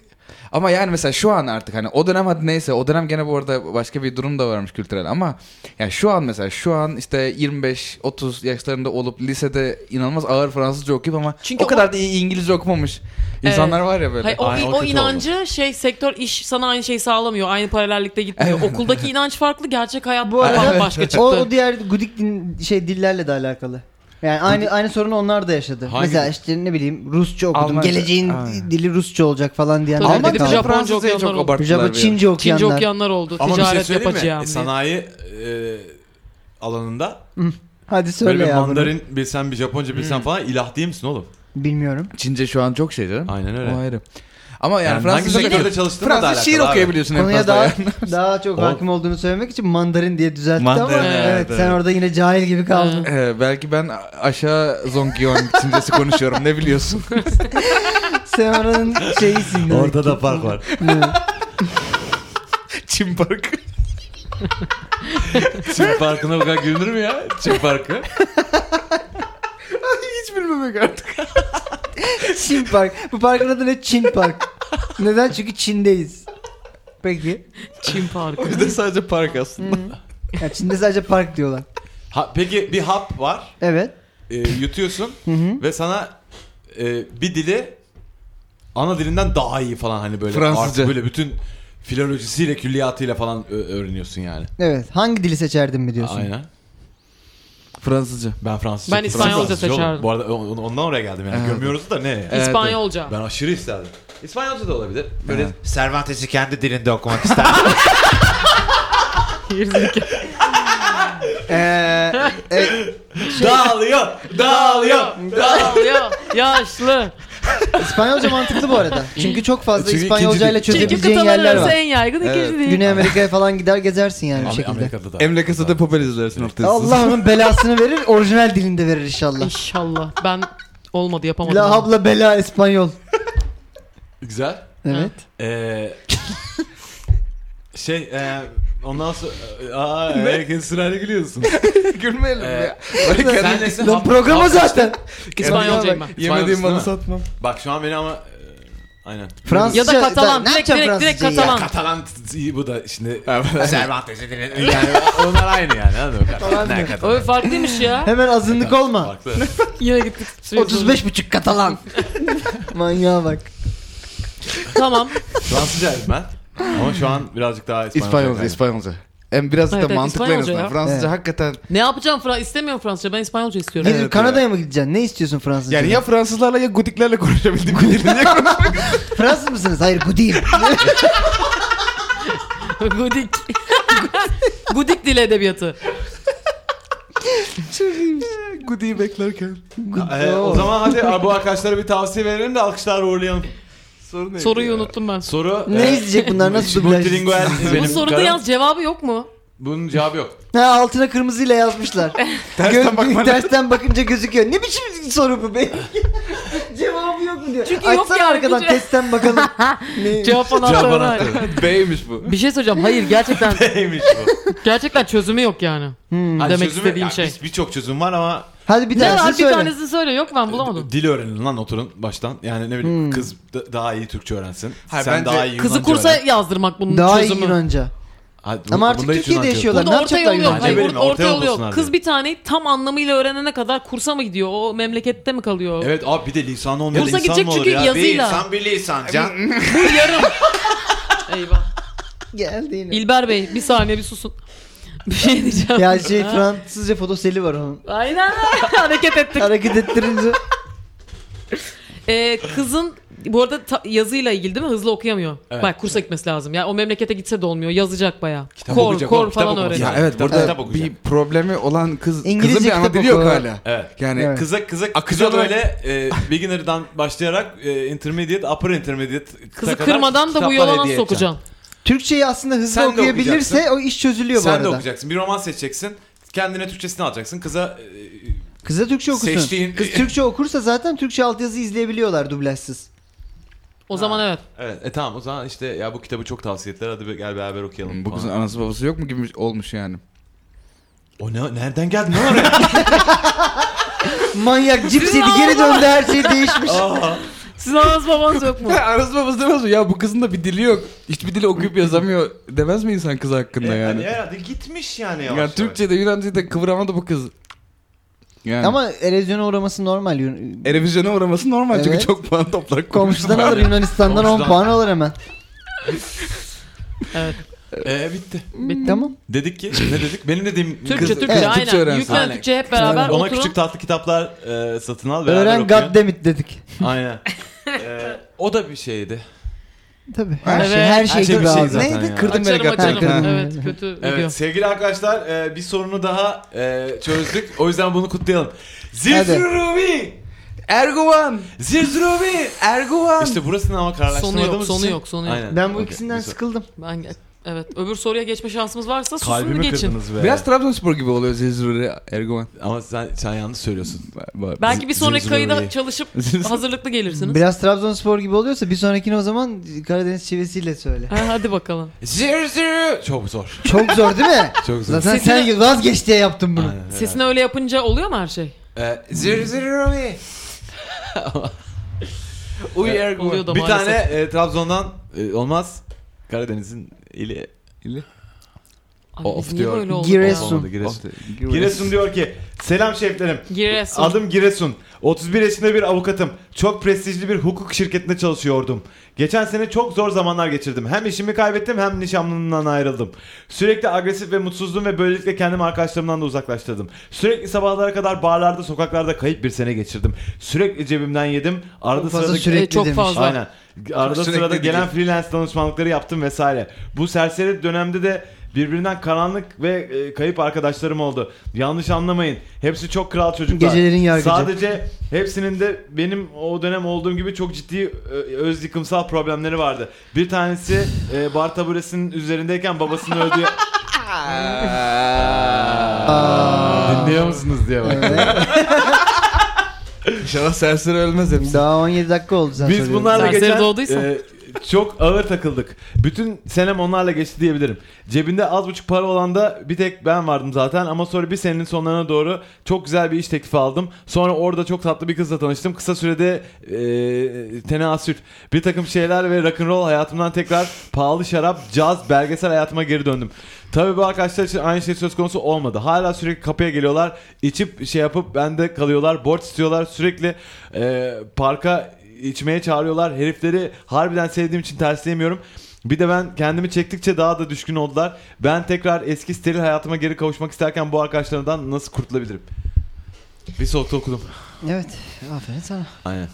[SPEAKER 3] Ama yani mesela şu an artık hani o dönem hadi neyse o dönem gene bu arada başka bir durum da varmış kültürel ama yani şu an mesela şu an işte 25-30 yaşlarında olup lisede inanılmaz ağır Fransızca okuyup ama
[SPEAKER 5] Çünkü
[SPEAKER 3] o kadar da iyi İngilizce okumamış insanlar var ya böyle.
[SPEAKER 5] Hayır, o,
[SPEAKER 2] Aynen, o
[SPEAKER 5] o
[SPEAKER 2] kötü
[SPEAKER 5] inancı şey sektör iş sana aynı şeyi sağlamıyor. Aynı paralellikte gitmiyor. Okuldaki inanç farklı, gerçek hayat
[SPEAKER 4] Bu arada-
[SPEAKER 5] bambaşka çıktı.
[SPEAKER 4] O, o diğer gudik din, şey dillerle de alakalı. Yani aynı aynı sorunu onlar da yaşadı.
[SPEAKER 2] Hangi-
[SPEAKER 4] Mesela işte ne bileyim Rusça okudum.
[SPEAKER 3] Almanca-
[SPEAKER 4] Geleceğin
[SPEAKER 3] Aynen.
[SPEAKER 4] dili Rusça olacak falan diyenler
[SPEAKER 5] Tabii,
[SPEAKER 4] de
[SPEAKER 5] Almanca-
[SPEAKER 3] Almanca'da
[SPEAKER 4] kaldı.
[SPEAKER 5] Japonca
[SPEAKER 3] Fransızca'yı çok
[SPEAKER 5] okuyanlar oldu.
[SPEAKER 3] abarttılar.
[SPEAKER 4] Japon,
[SPEAKER 3] bir ara.
[SPEAKER 4] Çince okuyanlar.
[SPEAKER 5] Çince okuyanlar oldu.
[SPEAKER 2] Ama bir şey
[SPEAKER 5] Ticaret
[SPEAKER 2] söyleyeyim
[SPEAKER 5] yapacağım
[SPEAKER 2] mi?
[SPEAKER 5] diye.
[SPEAKER 2] Sanayi e, alanında
[SPEAKER 4] Hadi
[SPEAKER 2] böyle
[SPEAKER 4] söyle
[SPEAKER 2] bir
[SPEAKER 4] ya bunu.
[SPEAKER 2] mandarin bilsen bir Japonca bilsen falan ilah değil misin oğlum?
[SPEAKER 4] Bilmiyorum.
[SPEAKER 3] Çince şu an çok şey canım.
[SPEAKER 2] Aynen
[SPEAKER 3] O
[SPEAKER 2] öyle.
[SPEAKER 3] ayrı. Ama yani,
[SPEAKER 2] Yani hangi
[SPEAKER 3] Fransızca
[SPEAKER 2] sektörde
[SPEAKER 3] Fransız
[SPEAKER 2] çalıştığınla da alakalı
[SPEAKER 3] şiir
[SPEAKER 2] abi.
[SPEAKER 3] okuyabiliyorsun en
[SPEAKER 4] Konuya
[SPEAKER 3] fazla.
[SPEAKER 4] daha
[SPEAKER 3] ya.
[SPEAKER 4] daha çok
[SPEAKER 2] O-
[SPEAKER 4] hakim olduğunu söylemek için mandarin diye düzeltti ama
[SPEAKER 2] Mandarin,
[SPEAKER 5] evet,
[SPEAKER 4] evet, sen
[SPEAKER 2] evet.
[SPEAKER 4] orada yine cahil gibi kaldın.
[SPEAKER 3] Ee, belki ben aşağı Zongyon Çincesi konuşuyorum ne biliyorsun?
[SPEAKER 4] sen oranın şeyisin. demek ki.
[SPEAKER 2] da fark var.
[SPEAKER 4] Evet.
[SPEAKER 3] Çin Parkı.
[SPEAKER 2] Çin farkına bu kadar gülünür mü ya? Çin farkı.
[SPEAKER 3] Hiç bilmemek artık.
[SPEAKER 4] Çin Park. Bu parkın adı ne? Çin Park. Neden? Çünkü Çin'deyiz. Peki.
[SPEAKER 5] Çin parkı.
[SPEAKER 3] Bir de sadece park aslında.
[SPEAKER 4] Hmm. Ya Çin'de sadece park diyorlar.
[SPEAKER 2] Ha, peki bir hap var.
[SPEAKER 4] Evet.
[SPEAKER 2] E, yutuyorsun
[SPEAKER 4] Hı hı.
[SPEAKER 2] ve sana e, bir dili ana dilinden daha iyi falan hani böyle.
[SPEAKER 3] Fransızca.
[SPEAKER 2] artık Böyle bütün filolojisiyle külliyatıyla falan ö- öğreniyorsun yani.
[SPEAKER 4] Evet. Hangi dili seçerdin mi diyorsun?
[SPEAKER 2] Aynen.
[SPEAKER 3] Fransızca.
[SPEAKER 2] Ben Fransızca.
[SPEAKER 5] Ben İspanyolca
[SPEAKER 2] Fransızca oğlum.
[SPEAKER 5] seçerdim.
[SPEAKER 2] Bu arada on- ondan oraya geldim yani.
[SPEAKER 3] Evet.
[SPEAKER 2] Görmüyoruz da ne yani.
[SPEAKER 3] Evet,
[SPEAKER 5] İspanyolca.
[SPEAKER 2] Ben aşırı isterdim. İspanyolca da olabilir. Böyle
[SPEAKER 3] Evet.
[SPEAKER 1] Cervantes'i kendi dilinde okumak isterdim.
[SPEAKER 5] Gerizekalı.
[SPEAKER 4] Ee, e,
[SPEAKER 2] dağılıyor, dağılıyor.
[SPEAKER 5] Dağılıyor. Yaşlı.
[SPEAKER 4] İspanyolca mantıklı bu arada. Çünkü çok fazla
[SPEAKER 2] Çünkü
[SPEAKER 4] İspanyolca ile
[SPEAKER 2] ikinci dil.
[SPEAKER 5] Çünkü
[SPEAKER 4] çözebileceğin
[SPEAKER 5] kıtalar
[SPEAKER 4] yerler
[SPEAKER 5] arası
[SPEAKER 4] var.
[SPEAKER 5] en yaygın ikinci değil.
[SPEAKER 4] Güney Amerika'ya falan gider gezersin yani bir
[SPEAKER 2] Am-
[SPEAKER 4] şekilde.
[SPEAKER 2] Amerika'da da.
[SPEAKER 3] Emre kasada popel izlersin haftaya.
[SPEAKER 4] Allah onun belasını verir, orijinal dilinde verir inşallah.
[SPEAKER 5] İnşallah. Ben olmadı yapamadım.
[SPEAKER 4] La habla bela İspanyol.
[SPEAKER 2] Güzel.
[SPEAKER 4] Evet.
[SPEAKER 2] Ee, şey, e, ondan sonra... e, Aa, herkes sırayla gülüyorsun.
[SPEAKER 3] Gülmeyelim
[SPEAKER 2] Ee,
[SPEAKER 3] ya. Böyle
[SPEAKER 2] Sen
[SPEAKER 3] kendi
[SPEAKER 2] nesin?
[SPEAKER 4] Lan
[SPEAKER 2] Hap-
[SPEAKER 4] programı
[SPEAKER 2] hap-
[SPEAKER 4] zaten.
[SPEAKER 5] İspanyolcayım ben.
[SPEAKER 3] yemediğim
[SPEAKER 2] İspanyolcusun
[SPEAKER 3] malı
[SPEAKER 2] değil mi?
[SPEAKER 3] satmam.
[SPEAKER 2] Bak şu an beni ama... e, Aynen.
[SPEAKER 4] Fransızca.
[SPEAKER 5] Ya da Katalan.
[SPEAKER 4] Ne
[SPEAKER 5] Direkt
[SPEAKER 4] yapacaksın
[SPEAKER 5] direkt direkt
[SPEAKER 4] Fransızcayı ya?
[SPEAKER 5] Katalan.
[SPEAKER 2] Katalan t- t- bu da şimdi...
[SPEAKER 1] Cervantes'i dilinde.
[SPEAKER 2] yani onlar aynı yani. Anladın mı?
[SPEAKER 4] Tamam
[SPEAKER 2] Ne
[SPEAKER 4] mı?
[SPEAKER 2] kadar-
[SPEAKER 5] Öyle farklıymış ya.
[SPEAKER 4] Hemen azınlık olma.
[SPEAKER 2] Farklı.
[SPEAKER 5] Yine gittik.
[SPEAKER 4] 35 buçuk Katalan. Manyağa bak.
[SPEAKER 5] Tamam.
[SPEAKER 2] Fransızca ben. Ama şu an birazcık daha İspanyolca.
[SPEAKER 3] İspanyolca,
[SPEAKER 2] kaydım.
[SPEAKER 3] İspanyolca. hem biraz
[SPEAKER 5] Evet,
[SPEAKER 3] da
[SPEAKER 5] evet,
[SPEAKER 3] mantıklı en
[SPEAKER 5] İspanyolca
[SPEAKER 3] azından.
[SPEAKER 5] ya.
[SPEAKER 3] Fransızca
[SPEAKER 4] Evet.
[SPEAKER 3] hakikaten
[SPEAKER 5] Ne yapacağım Fra istemiyorum Fransızca ben İspanyolca istiyorum.
[SPEAKER 4] Gidip
[SPEAKER 3] Evet,
[SPEAKER 4] Kanada'ya mı gideceksin? Ne istiyorsun Fransızca?
[SPEAKER 3] yani ya Fransızlarla ya Gudiklerle konuşabildim. Gudiklerle konuşmak
[SPEAKER 4] Fransız mısınız? Hayır bu değil.
[SPEAKER 5] Gudik. Gudik dil edebiyatı.
[SPEAKER 3] Gudi'yi beklerken.
[SPEAKER 2] Ee, o zaman hadi abi bu arkadaşlara bir tavsiye verelim de alkışlar uğurlayalım.
[SPEAKER 3] Sorun
[SPEAKER 5] Soruyu unuttum ben.
[SPEAKER 2] Soru
[SPEAKER 4] ne
[SPEAKER 2] e,
[SPEAKER 4] izleyecek bunlar? Nasıl dublaj?
[SPEAKER 2] multilingual
[SPEAKER 5] Bu
[SPEAKER 2] benim
[SPEAKER 5] soruda
[SPEAKER 2] karım.
[SPEAKER 5] yaz cevabı yok mu?
[SPEAKER 2] Bunun cevabı yok.
[SPEAKER 4] Ha altına kırmızıyla yazmışlar. Tersten,
[SPEAKER 3] bakmadan.
[SPEAKER 4] tersten bakınca gözüküyor. Ne biçim soru bu be? Cevabı yok mu diyor.
[SPEAKER 5] Çünkü yok
[SPEAKER 4] Açsana
[SPEAKER 5] yani,
[SPEAKER 4] arkadan
[SPEAKER 5] bir ce-
[SPEAKER 4] testten bakalım. ne?
[SPEAKER 5] Cevap anahtarı. var.
[SPEAKER 3] B'ymiş bu.
[SPEAKER 5] Bir şey söyleyeceğim. Hayır gerçekten
[SPEAKER 2] Neymiş bu?
[SPEAKER 5] gerçekten çözümü yok yani.
[SPEAKER 4] Hmm.
[SPEAKER 2] Hani
[SPEAKER 5] Demek
[SPEAKER 2] çözümü-
[SPEAKER 5] istediğim
[SPEAKER 2] ya
[SPEAKER 5] şey.
[SPEAKER 2] biz- Birçok çözüm var ama
[SPEAKER 4] Hadi bir
[SPEAKER 5] ne var
[SPEAKER 4] tanesini
[SPEAKER 5] bir
[SPEAKER 4] söyle.
[SPEAKER 5] tanesini söyle. Yok ben bulamadım.
[SPEAKER 2] dil öğrenin lan oturun baştan. Yani ne bileyim
[SPEAKER 4] Hmm.
[SPEAKER 2] kız da- daha iyi Türkçe öğrensin.
[SPEAKER 3] Hayır,
[SPEAKER 2] Sen
[SPEAKER 3] bence
[SPEAKER 2] daha iyi
[SPEAKER 5] Kızı
[SPEAKER 2] Yunanca
[SPEAKER 5] kursa
[SPEAKER 2] öğren.
[SPEAKER 5] yazdırmak bunun
[SPEAKER 4] Daha iyi
[SPEAKER 5] çözümü.
[SPEAKER 4] Yunanca.
[SPEAKER 2] Hadi, bu-
[SPEAKER 4] Ama artık
[SPEAKER 2] bunda hiç
[SPEAKER 4] Türkiye'de
[SPEAKER 2] Yunanca yok.
[SPEAKER 4] yaşıyorlar. Ne
[SPEAKER 5] Burada orta
[SPEAKER 4] yapacaklar
[SPEAKER 5] yol yok.
[SPEAKER 4] Yunanca?
[SPEAKER 5] Hayır,
[SPEAKER 2] Bence
[SPEAKER 5] burada
[SPEAKER 2] benim, orta
[SPEAKER 5] orta yol
[SPEAKER 2] yol
[SPEAKER 5] yok.
[SPEAKER 2] bulsunlar
[SPEAKER 5] Kız
[SPEAKER 2] diyor.
[SPEAKER 5] bir taneyi tam anlamıyla öğrenene kadar kursa mı gidiyor? O memlekette mi kalıyor?
[SPEAKER 2] Evet abi bir de lisan olmayan
[SPEAKER 5] Kursa
[SPEAKER 2] insan
[SPEAKER 5] gidecek
[SPEAKER 2] mı olur
[SPEAKER 5] çünkü
[SPEAKER 2] ya?
[SPEAKER 5] yazıyla.
[SPEAKER 2] Bir insan bir lisan. Can.
[SPEAKER 5] Bu yarım. Eyvah.
[SPEAKER 4] Geldi yine.
[SPEAKER 5] İlber Bey bir saniye bir susun. Bir şey diyeceğim.
[SPEAKER 4] Ya şey Fransızca fotoseli var onun.
[SPEAKER 5] Aynen hareket ettik.
[SPEAKER 4] Hareket ettirince.
[SPEAKER 5] Ee, kızın bu arada ta- yazıyla ilgili değil mi? Hızlı okuyamıyor.
[SPEAKER 2] Evet.
[SPEAKER 5] Bak kursa gitmesi lazım. Yani o memlekete gitse de olmuyor. Yazacak bayağı.
[SPEAKER 2] Kitap
[SPEAKER 5] kor
[SPEAKER 2] okuyacak
[SPEAKER 5] kor
[SPEAKER 2] oğlum, kitap
[SPEAKER 5] falan
[SPEAKER 2] okuması
[SPEAKER 5] öğreniyor.
[SPEAKER 3] Ya
[SPEAKER 2] Kitap-
[SPEAKER 3] evet burada
[SPEAKER 2] kitap okuyacak.
[SPEAKER 3] bir problemi olan kız
[SPEAKER 4] İngilizce
[SPEAKER 3] kızın bir ana
[SPEAKER 4] kitap
[SPEAKER 3] dili yok
[SPEAKER 4] oku.
[SPEAKER 3] hala.
[SPEAKER 2] Evet.
[SPEAKER 3] Yani
[SPEAKER 4] Evet.
[SPEAKER 2] Kıza kıza
[SPEAKER 3] Akıcı
[SPEAKER 2] kıza
[SPEAKER 3] olarak-
[SPEAKER 2] böyle e, beginner'dan başlayarak e, intermediate, upper intermediate
[SPEAKER 5] Kızı kırmadan da bu yola nasıl sokacaksın?
[SPEAKER 4] Türkçeyi aslında hızlı
[SPEAKER 2] Sen de
[SPEAKER 4] okuyabilirse
[SPEAKER 2] okuyacaksın.
[SPEAKER 4] o iş çözülüyor bu
[SPEAKER 2] Sen de
[SPEAKER 4] arada.
[SPEAKER 2] okuyacaksın. Bir roman seçeceksin. Kendine Türkçesini alacaksın. Kıza e,
[SPEAKER 4] Kıza Türkçe okusun.
[SPEAKER 2] Seçtiğin-
[SPEAKER 4] Kız Türkçe okursa zaten Türkçe altyazı izleyebiliyorlar dublajsız.
[SPEAKER 5] O zaman evet.
[SPEAKER 2] Evet e tamam o zaman işte ya bu kitabı çok tavsiye ettiler hadi bir- gel beraber okuyalım.
[SPEAKER 3] Hmm, Bu kızın
[SPEAKER 2] falan.
[SPEAKER 3] anası babası yok mu gibi şey olmuş yani.
[SPEAKER 2] O ne nereden geldi ne var ya?
[SPEAKER 4] Manyak cips yedi geri döndü her şey değişmiş.
[SPEAKER 2] Aa,
[SPEAKER 5] Sizin ananız babanız yok mu?
[SPEAKER 3] Ya anası babası demez mi? Ya bu kızın da bir dili yok. Hiçbir dili okuyup yazamıyor demez mi insan kız hakkında
[SPEAKER 2] e,
[SPEAKER 3] yani?
[SPEAKER 2] hani herhalde gitmiş yani yavaş
[SPEAKER 3] Ya Türkçe'de Yunanca'da kıvıramadı bu kız. Yani. Ama
[SPEAKER 4] Ama erozyona uğraması normal. Yun-
[SPEAKER 2] E,
[SPEAKER 3] Erevizyona uğraması normal
[SPEAKER 4] Evet.
[SPEAKER 3] çünkü çok puan toplar.
[SPEAKER 4] Komşudan alır Yunanistan'dan 10
[SPEAKER 2] Komşudan.
[SPEAKER 4] puan alır hemen.
[SPEAKER 5] Evet.
[SPEAKER 2] yavaş. E bitti.
[SPEAKER 4] Tamam.
[SPEAKER 2] Dedik ki ne dedik? Benim dediğim
[SPEAKER 5] Türkçe
[SPEAKER 2] kız-
[SPEAKER 5] Türkçe
[SPEAKER 4] Evet,
[SPEAKER 5] aynen.
[SPEAKER 3] Türkçe öğrensin.
[SPEAKER 5] Yüklen
[SPEAKER 2] Aynen.
[SPEAKER 5] Türkçe hep beraber
[SPEAKER 2] ona
[SPEAKER 5] oturun.
[SPEAKER 2] küçük tatlı kitaplar e, satın al beraber
[SPEAKER 4] Öğren
[SPEAKER 2] okuyun.
[SPEAKER 4] goddamit dedik.
[SPEAKER 2] Aynen. E, o da bir şeydi.
[SPEAKER 4] Tabii. Her
[SPEAKER 5] Evet.
[SPEAKER 4] şey her şey
[SPEAKER 2] Her şey bir
[SPEAKER 4] gibi
[SPEAKER 2] şey
[SPEAKER 4] abi.
[SPEAKER 2] zaten
[SPEAKER 4] Neydi?
[SPEAKER 2] ya.
[SPEAKER 4] Kırdım beni
[SPEAKER 5] Açarım
[SPEAKER 4] kaptan.
[SPEAKER 5] açarım.
[SPEAKER 4] Kırdım.
[SPEAKER 5] Evet kötü
[SPEAKER 2] Evet
[SPEAKER 5] video.
[SPEAKER 2] sevgili arkadaşlar e, bir sorunu daha e, çözdük. O yüzden bunu kutlayalım.
[SPEAKER 4] Hadi.
[SPEAKER 2] Zilzrubi!
[SPEAKER 3] Erguvan!
[SPEAKER 2] Zilzrubi!
[SPEAKER 3] Erguvan!
[SPEAKER 2] İşte burasını ama kararlaştırmadığımız
[SPEAKER 5] Sonu yok, sonu
[SPEAKER 2] için-
[SPEAKER 5] yok, sonu yok.
[SPEAKER 2] Aynen.
[SPEAKER 4] Ben bu
[SPEAKER 2] Okey,
[SPEAKER 4] ikisinden
[SPEAKER 2] güzel.
[SPEAKER 4] sıkıldım.
[SPEAKER 5] Ben evet öbür soruya geçme şansımız varsa susun
[SPEAKER 2] Kalbimi
[SPEAKER 5] geçin.
[SPEAKER 2] kırdınız be.
[SPEAKER 3] Biraz Trabzonspor gibi oluyor Zezuri Erguvan.
[SPEAKER 2] Ama sen, sen yanlış söylüyorsun.
[SPEAKER 5] Belki bir sonraki
[SPEAKER 2] Zilzile
[SPEAKER 5] kayıda
[SPEAKER 2] orayı.
[SPEAKER 5] çalışıp hazırlıklı gelirsiniz.
[SPEAKER 4] Biraz Trabzonspor gibi oluyorsa bir sonrakini o zaman Karadeniz çivesiyle söyle.
[SPEAKER 5] Ha, hadi bakalım.
[SPEAKER 2] Zirziru. Çok zor.
[SPEAKER 4] Çok zor değil mi?
[SPEAKER 2] Çok zor.
[SPEAKER 4] Zaten
[SPEAKER 5] Sesini-
[SPEAKER 4] sen vazgeç diye yaptın bunu.
[SPEAKER 2] Aynen,
[SPEAKER 5] Sesini öyle yapınca oluyor mu her şey?
[SPEAKER 2] evet. Ee, Zirziru.
[SPEAKER 3] Uy
[SPEAKER 5] Oluyor da
[SPEAKER 2] Bir
[SPEAKER 5] maalesef.
[SPEAKER 2] tane e, Trabzon'dan e, olmaz. Karadeniz'in ili.
[SPEAKER 5] Abi
[SPEAKER 2] Of
[SPEAKER 5] biz niye
[SPEAKER 2] diyor.
[SPEAKER 5] böyle olduk
[SPEAKER 4] Giresun.
[SPEAKER 5] ya?
[SPEAKER 2] Olmadı, Giresun. Giresun diyor ki selam şeflerim.
[SPEAKER 5] Giresun.
[SPEAKER 2] Adım Giresun. 31 yaşında bir avukatım. Çok prestijli bir hukuk şirketinde çalışıyordum. Geçen sene çok zor zamanlar geçirdim. Hem işimi kaybettim hem nişanlımdan ayrıldım. Sürekli agresif ve mutsuzdum ve böylelikle kendimi arkadaşlarımdan da uzaklaştırdım. Sürekli sabahlara kadar barlarda, sokaklarda kayıp bir sene geçirdim. Sürekli cebimden yedim. Arada
[SPEAKER 4] Çok fazla
[SPEAKER 2] sırada
[SPEAKER 4] sürekli
[SPEAKER 5] E, çok
[SPEAKER 4] demiş.
[SPEAKER 5] fazla.
[SPEAKER 2] Aynen. Arada
[SPEAKER 3] Sürekli
[SPEAKER 2] sırada
[SPEAKER 3] gidiyor.
[SPEAKER 2] gelen freelance danışmanlıkları yaptım vesaire. Bu serseri dönemde de birbirinden karanlık ve e, kayıp arkadaşlarım oldu. Yanlış anlamayın. Hepsi çok kral çocuklar.
[SPEAKER 4] Gecelerin yargıcı.
[SPEAKER 2] Sadece hepsinin de benim o dönem olduğum gibi çok ciddi e, öz yıkımsal problemleri vardı. Bir tanesi e, bar taburesinin üzerindeyken babasının öldüğü...
[SPEAKER 4] Aa.
[SPEAKER 2] Dinliyor musunuz diye bak.
[SPEAKER 4] Evet.
[SPEAKER 3] İnşallah serseri ölmez hepsi.
[SPEAKER 4] Daha 17 dakika oldu sen
[SPEAKER 2] Biz
[SPEAKER 4] soruyorsun.
[SPEAKER 2] bunlarla
[SPEAKER 5] Serseri
[SPEAKER 2] geçen
[SPEAKER 5] doğduysa.
[SPEAKER 2] e, çok ağır takıldık. Bütün senem onlarla geçti diyebilirim. Cebinde az buçuk para olan da bir tek ben vardım zaten ama sonra bir senenin sonlarına doğru çok güzel bir iş teklifi aldım. Sonra orada çok tatlı bir kızla tanıştım. Kısa sürede e, tenasül, bir takım şeyler ve rock'n'roll hayatımdan tekrar pahalı şarap, caz, belgesel hayatıma geri döndüm. Tabii bu arkadaşlar için aynı şey söz konusu olmadı. Hala sürekli kapıya geliyorlar, içip şey yapıp bende kalıyorlar, borç istiyorlar. Sürekli Ee, e, parka içmeye çağırıyorlar. Herifleri harbiden sevdiğim için tersleyemiyorum. Bir de ben kendimi çektikçe daha da düşkün oldular. Ben tekrar eski steril hayatıma geri kavuşmak isterken bu arkadaşlarımdan nasıl kurtulabilirim? Bir solukta okudum.
[SPEAKER 4] Evet. Aferin sana.
[SPEAKER 2] Aynen.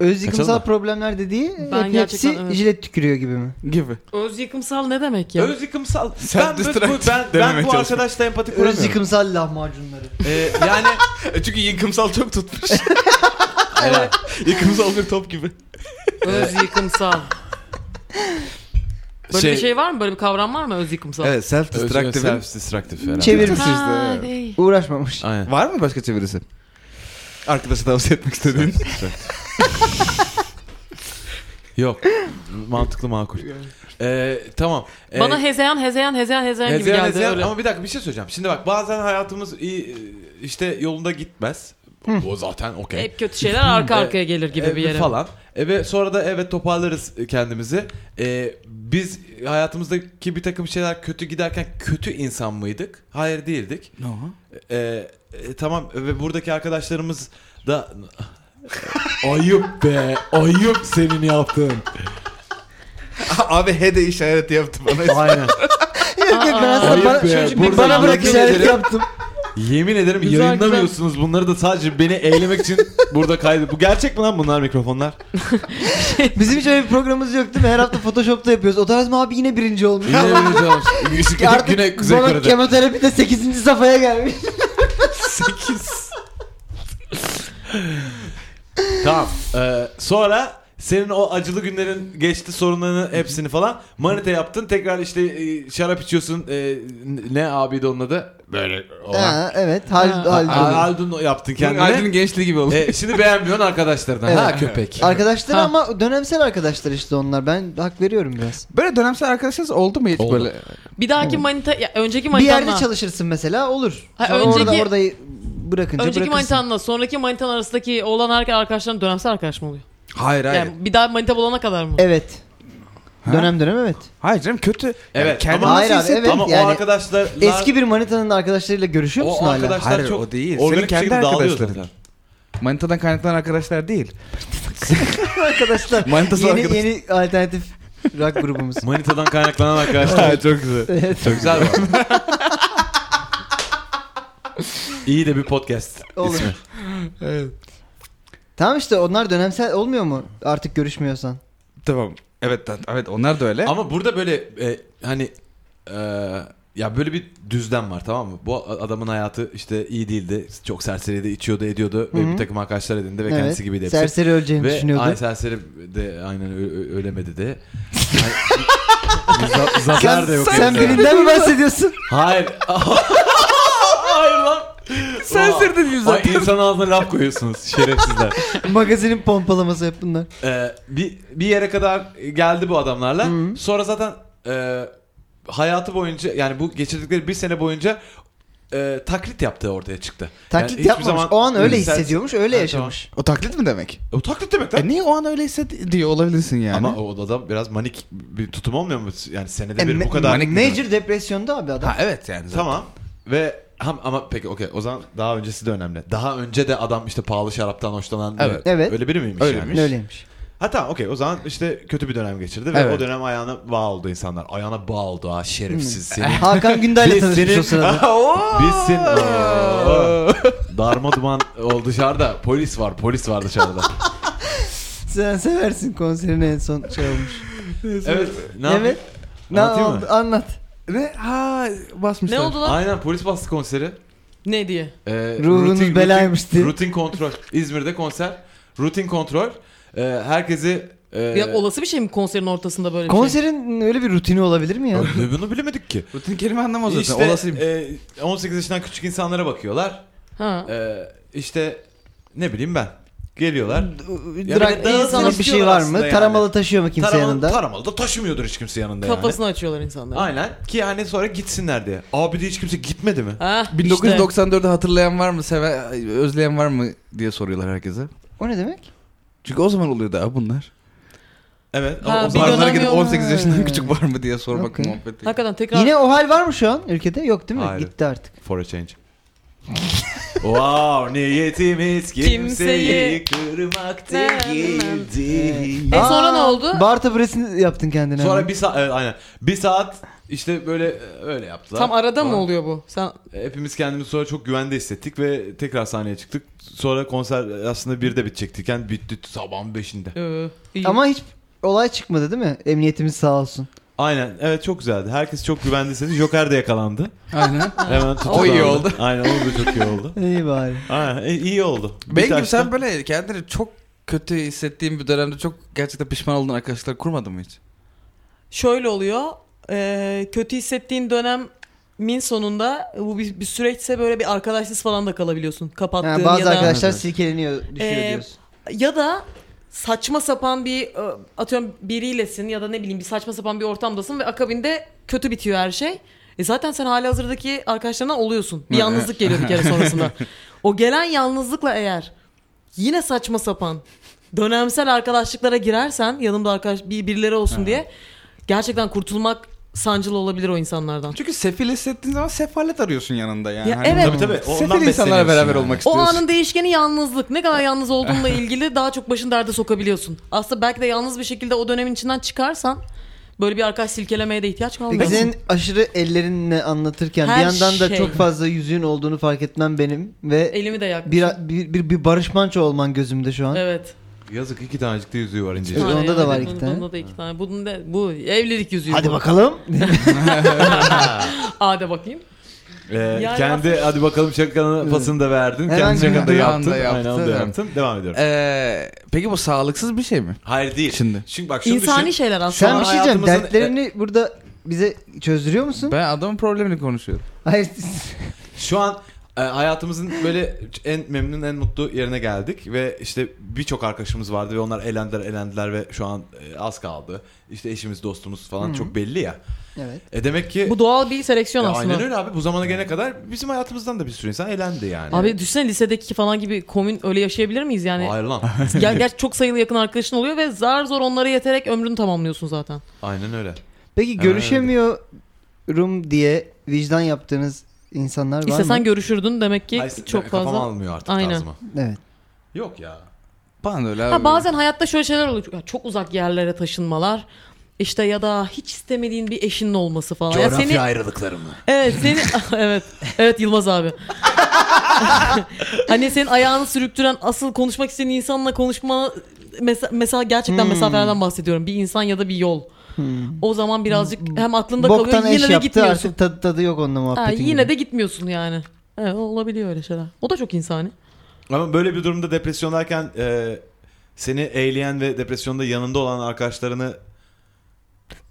[SPEAKER 4] Öz yıkımsal
[SPEAKER 2] Açalım mı?
[SPEAKER 4] problemler dediği
[SPEAKER 5] Ben
[SPEAKER 4] hep hepsi
[SPEAKER 5] gerçekten, evet.
[SPEAKER 4] jilet tükürüyor gibi mi?
[SPEAKER 3] Gibi.
[SPEAKER 5] Öz yıkımsal ne demek ya?
[SPEAKER 2] Öz yıkımsal.
[SPEAKER 3] Sen
[SPEAKER 2] Ben, bu- bu,
[SPEAKER 3] distract
[SPEAKER 2] ben, ben
[SPEAKER 3] dememeye
[SPEAKER 2] bu
[SPEAKER 3] çalışma.
[SPEAKER 2] arkadaşla empati
[SPEAKER 4] Öz
[SPEAKER 2] kuramıyorum.
[SPEAKER 4] yıkımsal lahmacunları.
[SPEAKER 2] Ee, yani
[SPEAKER 3] Çünkü yıkımsal çok tutmuş.
[SPEAKER 2] Helal.
[SPEAKER 3] yıkımsal bir top gibi.
[SPEAKER 5] Öz yıkımsal. Böyle
[SPEAKER 2] Şey-
[SPEAKER 5] bir şey var mı? Böyle bir kavram var mı öz yıkımsal?
[SPEAKER 3] Evet self destructive.
[SPEAKER 2] self destructive herhalde.
[SPEAKER 4] Çevirmiş.
[SPEAKER 5] Ha,
[SPEAKER 3] işte,
[SPEAKER 5] değil.
[SPEAKER 4] Uğraşmamış.
[SPEAKER 2] Aynen.
[SPEAKER 3] Var mı başka çevirisi? Arkadaşa tavsiye etmek istediğin.
[SPEAKER 2] Yok. Mantıklı makul. Ee, tamam. Ee,
[SPEAKER 5] Bana hezeyan hezeyan hezeyan hezeyan, gibi
[SPEAKER 2] hezeyan,
[SPEAKER 5] geldi.
[SPEAKER 2] hezeyan.
[SPEAKER 5] öyle.
[SPEAKER 2] Ama bir dakika bir şey söyleyeceğim. Şimdi bak bazen hayatımız iyi, işte yolunda gitmez. O zaten okey.
[SPEAKER 5] Hep kötü şeyler arka arkaya gelir gibi
[SPEAKER 2] E,
[SPEAKER 5] bir yere.
[SPEAKER 2] Falan. E, ve sonra da evet toparlarız kendimizi. E, biz hayatımızdaki bir takım şeyler kötü giderken kötü insan mıydık? Hayır değildik. E, e, tamam ve buradaki arkadaşlarımız da... ayıp be. Ayıp senin yaptığın.
[SPEAKER 3] Abi he de işareti yaptı bana.
[SPEAKER 2] Aynen.
[SPEAKER 4] Yok yok ben
[SPEAKER 5] Aa,
[SPEAKER 4] aslında
[SPEAKER 2] ayıp
[SPEAKER 4] bana,
[SPEAKER 2] be, burada
[SPEAKER 4] bana bırak
[SPEAKER 2] yemin
[SPEAKER 4] işaret
[SPEAKER 2] ederim.
[SPEAKER 4] yaptım.
[SPEAKER 2] Yemin ederim
[SPEAKER 5] Güzel,
[SPEAKER 2] yayınlamıyorsunuz bunları da sadece beni eğlemek için burada kaydı. Bu gerçek mi lan bunlar mikrofonlar?
[SPEAKER 4] Bizim hiç öyle bir programımız yok değil mi? Her hafta Photoshop'ta yapıyoruz. O tarz mı abi yine birinci olmuş.
[SPEAKER 2] Yine yayınlayacağız.
[SPEAKER 4] Ki Artık
[SPEAKER 3] Güney Kuzey
[SPEAKER 4] bana
[SPEAKER 3] Kore'de.
[SPEAKER 4] kemoterapi de 8. safhaya gelmiş.
[SPEAKER 2] 8. tamam. Ee, sonra senin o acılı günlerin geçti sorunlarını hepsini falan manita yaptın. Tekrar işte e, şarap içiyorsun. E, ne abiydi onun adı? Böyle olan.
[SPEAKER 4] Ha, evet. Hal,
[SPEAKER 5] Ha.
[SPEAKER 4] hal,
[SPEAKER 2] Al- Aldun yaptın kendine.
[SPEAKER 3] Aydın'ın gençliği gibi oldu.
[SPEAKER 2] E, şimdi beğenmiyorsun arkadaşlarından.
[SPEAKER 4] Evet.
[SPEAKER 2] Ha köpek.
[SPEAKER 4] Arkadaşlar
[SPEAKER 5] Ha.
[SPEAKER 4] ama dönemsel arkadaşlar işte onlar. Ben hak veriyorum biraz.
[SPEAKER 3] Böyle dönemsel arkadaşınız oldu mu hiç
[SPEAKER 2] Oldu.
[SPEAKER 3] böyle?
[SPEAKER 5] Bir dahaki manita, ya, önceki
[SPEAKER 4] Bir yerde
[SPEAKER 5] manitanla,
[SPEAKER 4] çalışırsın mesela olur.
[SPEAKER 5] Ha,
[SPEAKER 4] Sonra
[SPEAKER 5] önceki-
[SPEAKER 4] orada orada bırakınca bırakırsın.
[SPEAKER 5] önceki manitanla, sonraki manitan arasındaki olan her arkadaşların dönemsel arkadaş mı oluyor?
[SPEAKER 3] Hayır hayır.
[SPEAKER 5] Yani bir daha manita bulana kadar mı?
[SPEAKER 4] Evet.
[SPEAKER 3] Ha?
[SPEAKER 4] Dönem dönem evet.
[SPEAKER 3] Hayır canım kötü. Yani
[SPEAKER 2] Evet,
[SPEAKER 3] kendini
[SPEAKER 2] ama-
[SPEAKER 3] nasıl
[SPEAKER 4] Hayır abi,
[SPEAKER 3] hissettin?
[SPEAKER 4] evet.
[SPEAKER 2] Ama
[SPEAKER 4] yani
[SPEAKER 2] o arkadaşlar
[SPEAKER 4] Eski bir manitanın arkadaşlarıyla görüşüyor musun
[SPEAKER 2] o
[SPEAKER 4] hala?
[SPEAKER 2] arkadaşlar
[SPEAKER 3] Hayır,
[SPEAKER 2] çok
[SPEAKER 3] o değil.
[SPEAKER 2] organik
[SPEAKER 3] Senin
[SPEAKER 2] bir şekilde
[SPEAKER 3] kendi
[SPEAKER 2] dağılıyor
[SPEAKER 3] arkadaşların.
[SPEAKER 2] zaten.
[SPEAKER 3] Manitadan kaynaklanan arkadaşlar değil.
[SPEAKER 4] arkadaşlar.
[SPEAKER 3] Manitası
[SPEAKER 4] yeni,
[SPEAKER 3] arkadaş.
[SPEAKER 4] yeni alternatif rock grubumuz.
[SPEAKER 2] Manitadan kaynaklanan arkadaşlar. çok güzel.
[SPEAKER 4] Evet.
[SPEAKER 2] Çok güzel bu. İyi de bir podcast
[SPEAKER 4] Olur.
[SPEAKER 2] ismi.
[SPEAKER 4] Tamam işte onlar dönemsel olmuyor mu artık görüşmüyorsan?
[SPEAKER 3] Tamam. Evet evet onlar da öyle.
[SPEAKER 2] Ama burada böyle e, hani e, ya böyle bir düzlem var tamam mı? Bu adamın hayatı işte iyi değildi. Çok serseriydi, içiyordu, ediyordu.
[SPEAKER 4] Hı hı.
[SPEAKER 2] Ve bir takım arkadaşlar edindi ve
[SPEAKER 4] Evet.
[SPEAKER 2] kendisi gibiydi hepsi.
[SPEAKER 4] Serseri öleceğini
[SPEAKER 2] ve
[SPEAKER 4] düşünüyordu.
[SPEAKER 2] aynı serseri de aynen ö- ö- ölemedi de.
[SPEAKER 4] Sen,
[SPEAKER 2] Zafer de yok.
[SPEAKER 4] sen
[SPEAKER 2] evde.
[SPEAKER 4] birinden mi bahsediyorsun?
[SPEAKER 2] Hayır. Hayır lan. Aa.
[SPEAKER 3] Sersirdin yüzü.
[SPEAKER 2] Ay insan ağzına laf koyuyorsunuz şerefsizler.
[SPEAKER 4] Magazinin pompalaması hep bunlar.
[SPEAKER 2] Ee, bir, bir yere kadar geldi bu adamlarla.
[SPEAKER 4] Hı.
[SPEAKER 2] Sonra zaten e, hayatı boyunca yani bu geçirdikleri bir sene boyunca e, taklit yaptığı ortaya çıktı. Yani
[SPEAKER 4] Taklit
[SPEAKER 2] hiçbir
[SPEAKER 4] yapmamış.
[SPEAKER 2] zaman-
[SPEAKER 4] o an öyle
[SPEAKER 2] Sen-
[SPEAKER 4] hissediyormuş, öyle
[SPEAKER 2] Ha,
[SPEAKER 4] yaşamış.
[SPEAKER 3] O taklit mi demek?
[SPEAKER 2] E, O taklit demek lan.
[SPEAKER 3] E niye o an öyle hissediyor olabilirsin yani?
[SPEAKER 2] Ama o adam biraz manik bir tutum olmuyor mu? Yani senede
[SPEAKER 4] E,
[SPEAKER 2] bir
[SPEAKER 4] ma-
[SPEAKER 2] bu kadar.
[SPEAKER 3] manik-
[SPEAKER 4] Major depresyonda abi adam.
[SPEAKER 3] Ha evet yani. zaten.
[SPEAKER 2] Tamam. Ve ham, ama peki okey o zaman daha öncesi de önemli. Daha önce de adam işte pahalı şaraptan hoşlanan
[SPEAKER 3] Evet.
[SPEAKER 4] Evet.
[SPEAKER 2] öyle biri miymiş
[SPEAKER 3] Öyleymiş.
[SPEAKER 2] yani?
[SPEAKER 4] Öyleymiş.
[SPEAKER 2] Ha tamam okey o zaman işte kötü bir dönem geçirdi ve
[SPEAKER 3] Evet.
[SPEAKER 2] o dönem ayağına bağ oldu insanlar. Ayağına bağ oldu ha şerefsiz seni.
[SPEAKER 4] Hakan Günder'le
[SPEAKER 2] Biz
[SPEAKER 4] Hmm. tanışmış
[SPEAKER 2] seni-
[SPEAKER 4] o sırada.
[SPEAKER 2] Biz seni... Oo. Darma duman o dışarıda polis var polis var dışarıda.
[SPEAKER 4] Sen seversin konserini en son şey olmuş.
[SPEAKER 2] evet. Ne
[SPEAKER 4] evet.
[SPEAKER 2] evet.
[SPEAKER 4] Ne
[SPEAKER 2] Anlatayım
[SPEAKER 4] oldu?
[SPEAKER 2] mı?
[SPEAKER 4] Anlat.
[SPEAKER 3] Ne? Ha basmışlar.
[SPEAKER 5] Ne oldu lan?
[SPEAKER 2] Aynen polis bastı konseri.
[SPEAKER 5] Ne diye?
[SPEAKER 2] Ee,
[SPEAKER 4] Ruhunuz belaymış diye.
[SPEAKER 2] rutin, rutin kontrol. İzmir'de konser. Rutin kontrol. Ee, herkesi... E,
[SPEAKER 4] Ee,
[SPEAKER 5] Ya olası bir şey mi konserin ortasında böyle bir şey?
[SPEAKER 4] Konserin öyle bir rutini olabilir mi ya?
[SPEAKER 2] Öyle bunu bilemedik ki.
[SPEAKER 3] Rutin kelime anlamaz zaten.
[SPEAKER 2] İşte
[SPEAKER 3] Olası bir...
[SPEAKER 2] e, 18 yaşından küçük insanlara bakıyorlar.
[SPEAKER 5] Ha.
[SPEAKER 2] Ee, işte ne bileyim ben. Geliyorlar.
[SPEAKER 4] Hmm.
[SPEAKER 2] Ya
[SPEAKER 4] Drag
[SPEAKER 2] bir de dans
[SPEAKER 4] insana bir şey
[SPEAKER 2] istiyorlar
[SPEAKER 4] var mı?
[SPEAKER 2] aslında yani.
[SPEAKER 4] Taramalı taşıyor mu kimse
[SPEAKER 2] Taramalı,
[SPEAKER 4] yanında?
[SPEAKER 2] taramalı da taşımıyordur hiç kimse yanında
[SPEAKER 5] Kafasını açıyorlar insanlar.
[SPEAKER 2] yani. Aynen. Ki hani sonra gitsinler diye. Abi de hiç kimse gitmedi mi?
[SPEAKER 5] Ha, işte.
[SPEAKER 3] 1994'ü hatırlayan var mı? Seve, özleyen var mı diye soruyorlar herkese.
[SPEAKER 4] o ne demek?
[SPEAKER 3] Çünkü o zaman oluyordu abi bunlar.
[SPEAKER 2] Evet.
[SPEAKER 5] Ha,
[SPEAKER 2] ama
[SPEAKER 5] bir
[SPEAKER 2] o
[SPEAKER 5] dönem-
[SPEAKER 3] Barlara gidip
[SPEAKER 5] yok.
[SPEAKER 3] 18 yaşından küçük var mı diye sormak
[SPEAKER 4] Okey.
[SPEAKER 3] muhabbeti.
[SPEAKER 5] Hakikaten tekrar
[SPEAKER 4] Yine o hal var mı şu an ülkede? Yok değil mi?
[SPEAKER 2] Hayır.
[SPEAKER 4] Gitti artık.
[SPEAKER 2] For a change. wow niyetimiz kimseyi
[SPEAKER 6] Kimseyi
[SPEAKER 2] kırmak
[SPEAKER 6] kırmak
[SPEAKER 2] Ee, değildi.
[SPEAKER 6] E sonra ne oldu?
[SPEAKER 4] Bar taburesini yaptın kendine.
[SPEAKER 2] Sonra
[SPEAKER 4] hemen.
[SPEAKER 2] bir saat evet, aynen. Bir saat işte böyle e, öyle yaptılar.
[SPEAKER 6] Tam arada mı
[SPEAKER 2] Falan.
[SPEAKER 6] oluyor bu? Sen
[SPEAKER 2] Hepimiz kendimizi sonra çok güvende hissettik ve tekrar sahneye çıktık. Sonra konser aslında bir de bitecekti. Yani bitti sabahın beşinde.
[SPEAKER 5] e,
[SPEAKER 6] Ee, iyi.
[SPEAKER 4] Ama hiç olay çıkmadı değil mi? Emniyetimiz sağ olsun.
[SPEAKER 2] Aynen evet çok güzeldi. Herkes çok güvende hissetti. Joker de yakalandı.
[SPEAKER 3] Aynen.
[SPEAKER 2] Hemen tutuklandı.
[SPEAKER 3] O iyi oldu.
[SPEAKER 2] Aynen o da çok iyi oldu.
[SPEAKER 4] İyi bari.
[SPEAKER 2] Aynen e, iyi oldu. Bir
[SPEAKER 3] Benim gibi
[SPEAKER 2] taşta-
[SPEAKER 3] sen böyle kendini çok kötü hissettiğin bir dönemde çok gerçekten pişman olduğun arkadaşlar kurmadın mı hiç?
[SPEAKER 5] Şöyle oluyor. e, kötü hissettiğin dönemin sonunda bu bir, bir süreçse böyle bir arkadaşsız falan da kalabiliyorsun. Kapattığın
[SPEAKER 4] Ha,
[SPEAKER 5] ya
[SPEAKER 4] bazı
[SPEAKER 5] da
[SPEAKER 4] arkadaşlar
[SPEAKER 3] Evet.
[SPEAKER 4] silkeleniyor, düşüyor
[SPEAKER 5] Ee,
[SPEAKER 4] diyorsun.
[SPEAKER 5] ya da saçma sapan bir e, atıyorum biriylesin ya da ne bileyim bir saçma sapan bir ortamdasın ve akabinde kötü bitiyor her şey. E zaten sen hali hazırdaki arkadaşlarından oluyorsun. Bir yalnızlık geliyor bir kere sonrasında. O gelen yalnızlıkla eğer yine saçma sapan dönemsel arkadaşlıklara girersen yanımda arkadaş bir birileri olsun diye gerçekten kurtulmak sancılı olabilir o insanlardan.
[SPEAKER 3] Çünkü sefil hissettiğin zaman sefalet arıyorsun yanında yani. Hani
[SPEAKER 5] Ya evet.
[SPEAKER 2] Tabii tabii, ondan
[SPEAKER 3] Sefil insanlarla
[SPEAKER 2] besleniyorsun
[SPEAKER 3] beraber
[SPEAKER 2] yani.
[SPEAKER 3] olmak
[SPEAKER 5] O
[SPEAKER 3] istiyorsun.
[SPEAKER 5] anın değişkeni yalnızlık. Ne kadar yalnız olduğunla ilgili daha çok başın derde sokabiliyorsun. Aslında belki de yalnız bir şekilde o dönemin içinden çıkarsan böyle bir arkadaş silkelemeye de ihtiyaç kalmaz.
[SPEAKER 4] Peki senin aşırı ellerinle anlatırken
[SPEAKER 5] Her
[SPEAKER 4] bir yandan da
[SPEAKER 5] şey.
[SPEAKER 4] çok fazla yüzüğün olduğunu fark etmem benim ve
[SPEAKER 5] Elimi de yakmışım.
[SPEAKER 4] bir, bir, bir, bir Barış Manço olman gözümde şu an.
[SPEAKER 5] Evet.
[SPEAKER 2] Yazık iki tanecik de yüzüğü var ince.
[SPEAKER 5] Bir tane
[SPEAKER 4] Ee, onda da
[SPEAKER 5] yani.
[SPEAKER 4] var iki
[SPEAKER 5] Bunda-
[SPEAKER 4] tane.
[SPEAKER 5] Bunda da iki tane. Bunun da, bu evlilik yüzüğü.
[SPEAKER 4] Hadi
[SPEAKER 5] bu.
[SPEAKER 4] bakalım.
[SPEAKER 5] Hadi bakayım.
[SPEAKER 2] Ee,
[SPEAKER 5] Yani
[SPEAKER 2] kendi hadi bakalım şakanın pasını da verdin.
[SPEAKER 4] Hemen
[SPEAKER 2] kendi şakanı da
[SPEAKER 3] bir
[SPEAKER 2] yaptın.
[SPEAKER 3] anda
[SPEAKER 2] Aynen onu da
[SPEAKER 3] yaptı.
[SPEAKER 2] yaptın. Devam ediyorum.
[SPEAKER 3] Ee, peki bu sağlıksız bir şey mi?
[SPEAKER 2] Hayır değil.
[SPEAKER 3] Şimdi.
[SPEAKER 2] Şimdi bak şunu
[SPEAKER 5] İnsani
[SPEAKER 2] düşün.
[SPEAKER 5] şeyler aslında.
[SPEAKER 4] Sen bir şey diyeceğim.
[SPEAKER 2] hayatımızın- e-
[SPEAKER 4] Dertlerini burada bize çözdürüyor musun?
[SPEAKER 3] Ben adamın problemini konuşuyorum.
[SPEAKER 4] Hayır.
[SPEAKER 2] Şu an e, hayatımızın böyle en memnun en mutlu yerine geldik ve işte birçok arkadaşımız vardı ve onlar elendiler elendiler ve şu an e, az kaldı. İşte eşimiz dostumuz falan çok belli ya.
[SPEAKER 4] evet.
[SPEAKER 2] E demek ki
[SPEAKER 5] Bu doğal bir seleksiyon
[SPEAKER 2] Ya
[SPEAKER 5] aslında.
[SPEAKER 2] aynen öyle abi bu zamana gelene kadar bizim hayatımızdan da bir sürü insan elendi yani.
[SPEAKER 5] Abi hani- düşünsene lisedeki falan gibi komün öyle yaşayabilir miyiz yani?
[SPEAKER 2] Hayır lan.
[SPEAKER 5] Ger gerçi çok sayılı yakın arkadaşın oluyor ve zar zor onlara yeterek ömrünü tamamlıyorsun zaten.
[SPEAKER 2] aynen öyle.
[SPEAKER 4] Peki görüşemiyorum diye vicdan yaptığınız insanlar var mı?
[SPEAKER 5] İstesen görüşürdün demek ki
[SPEAKER 2] Ay,
[SPEAKER 5] çok
[SPEAKER 2] kafam
[SPEAKER 5] fazla.
[SPEAKER 2] almıyor artık
[SPEAKER 5] Aynen.
[SPEAKER 2] tarzıma.
[SPEAKER 4] Evet.
[SPEAKER 2] Yok ya.
[SPEAKER 3] Bana da öyle abi.
[SPEAKER 5] Ha, bazen hayatta şöyle şeyler oluyor. Ya Çok uzak yerlere taşınmalar. İşte ya da hiç istemediğin bir eşinin olması falan. Ya seni,
[SPEAKER 2] ayrılıkları mı?
[SPEAKER 5] evet seni evet. Evet Yılmaz abi. hani senin ayağını sürüktüren asıl konuşmak istediğin insanla konuşma mesa- mesela
[SPEAKER 4] Hmm.
[SPEAKER 5] gerçekten mesafelerden bahsediyorum. Bir insan ya da bir yol. O zaman birazcık hem aklında
[SPEAKER 4] Hmm. Boktan
[SPEAKER 5] kalıyor
[SPEAKER 4] eş
[SPEAKER 5] yine de
[SPEAKER 4] yaptı
[SPEAKER 5] gitmiyorsun.
[SPEAKER 4] artık tadı, tadı yok onunla
[SPEAKER 5] Ha,
[SPEAKER 4] muhabbetin.
[SPEAKER 5] yine
[SPEAKER 4] gibi.
[SPEAKER 5] de gitmiyorsun yani. Evet olabiliyor öyle şeyler. O da çok insani.
[SPEAKER 2] Ama böyle bir durumda depresyondayken e, seni eğleyen ve depresyonda yanında olan arkadaşlarını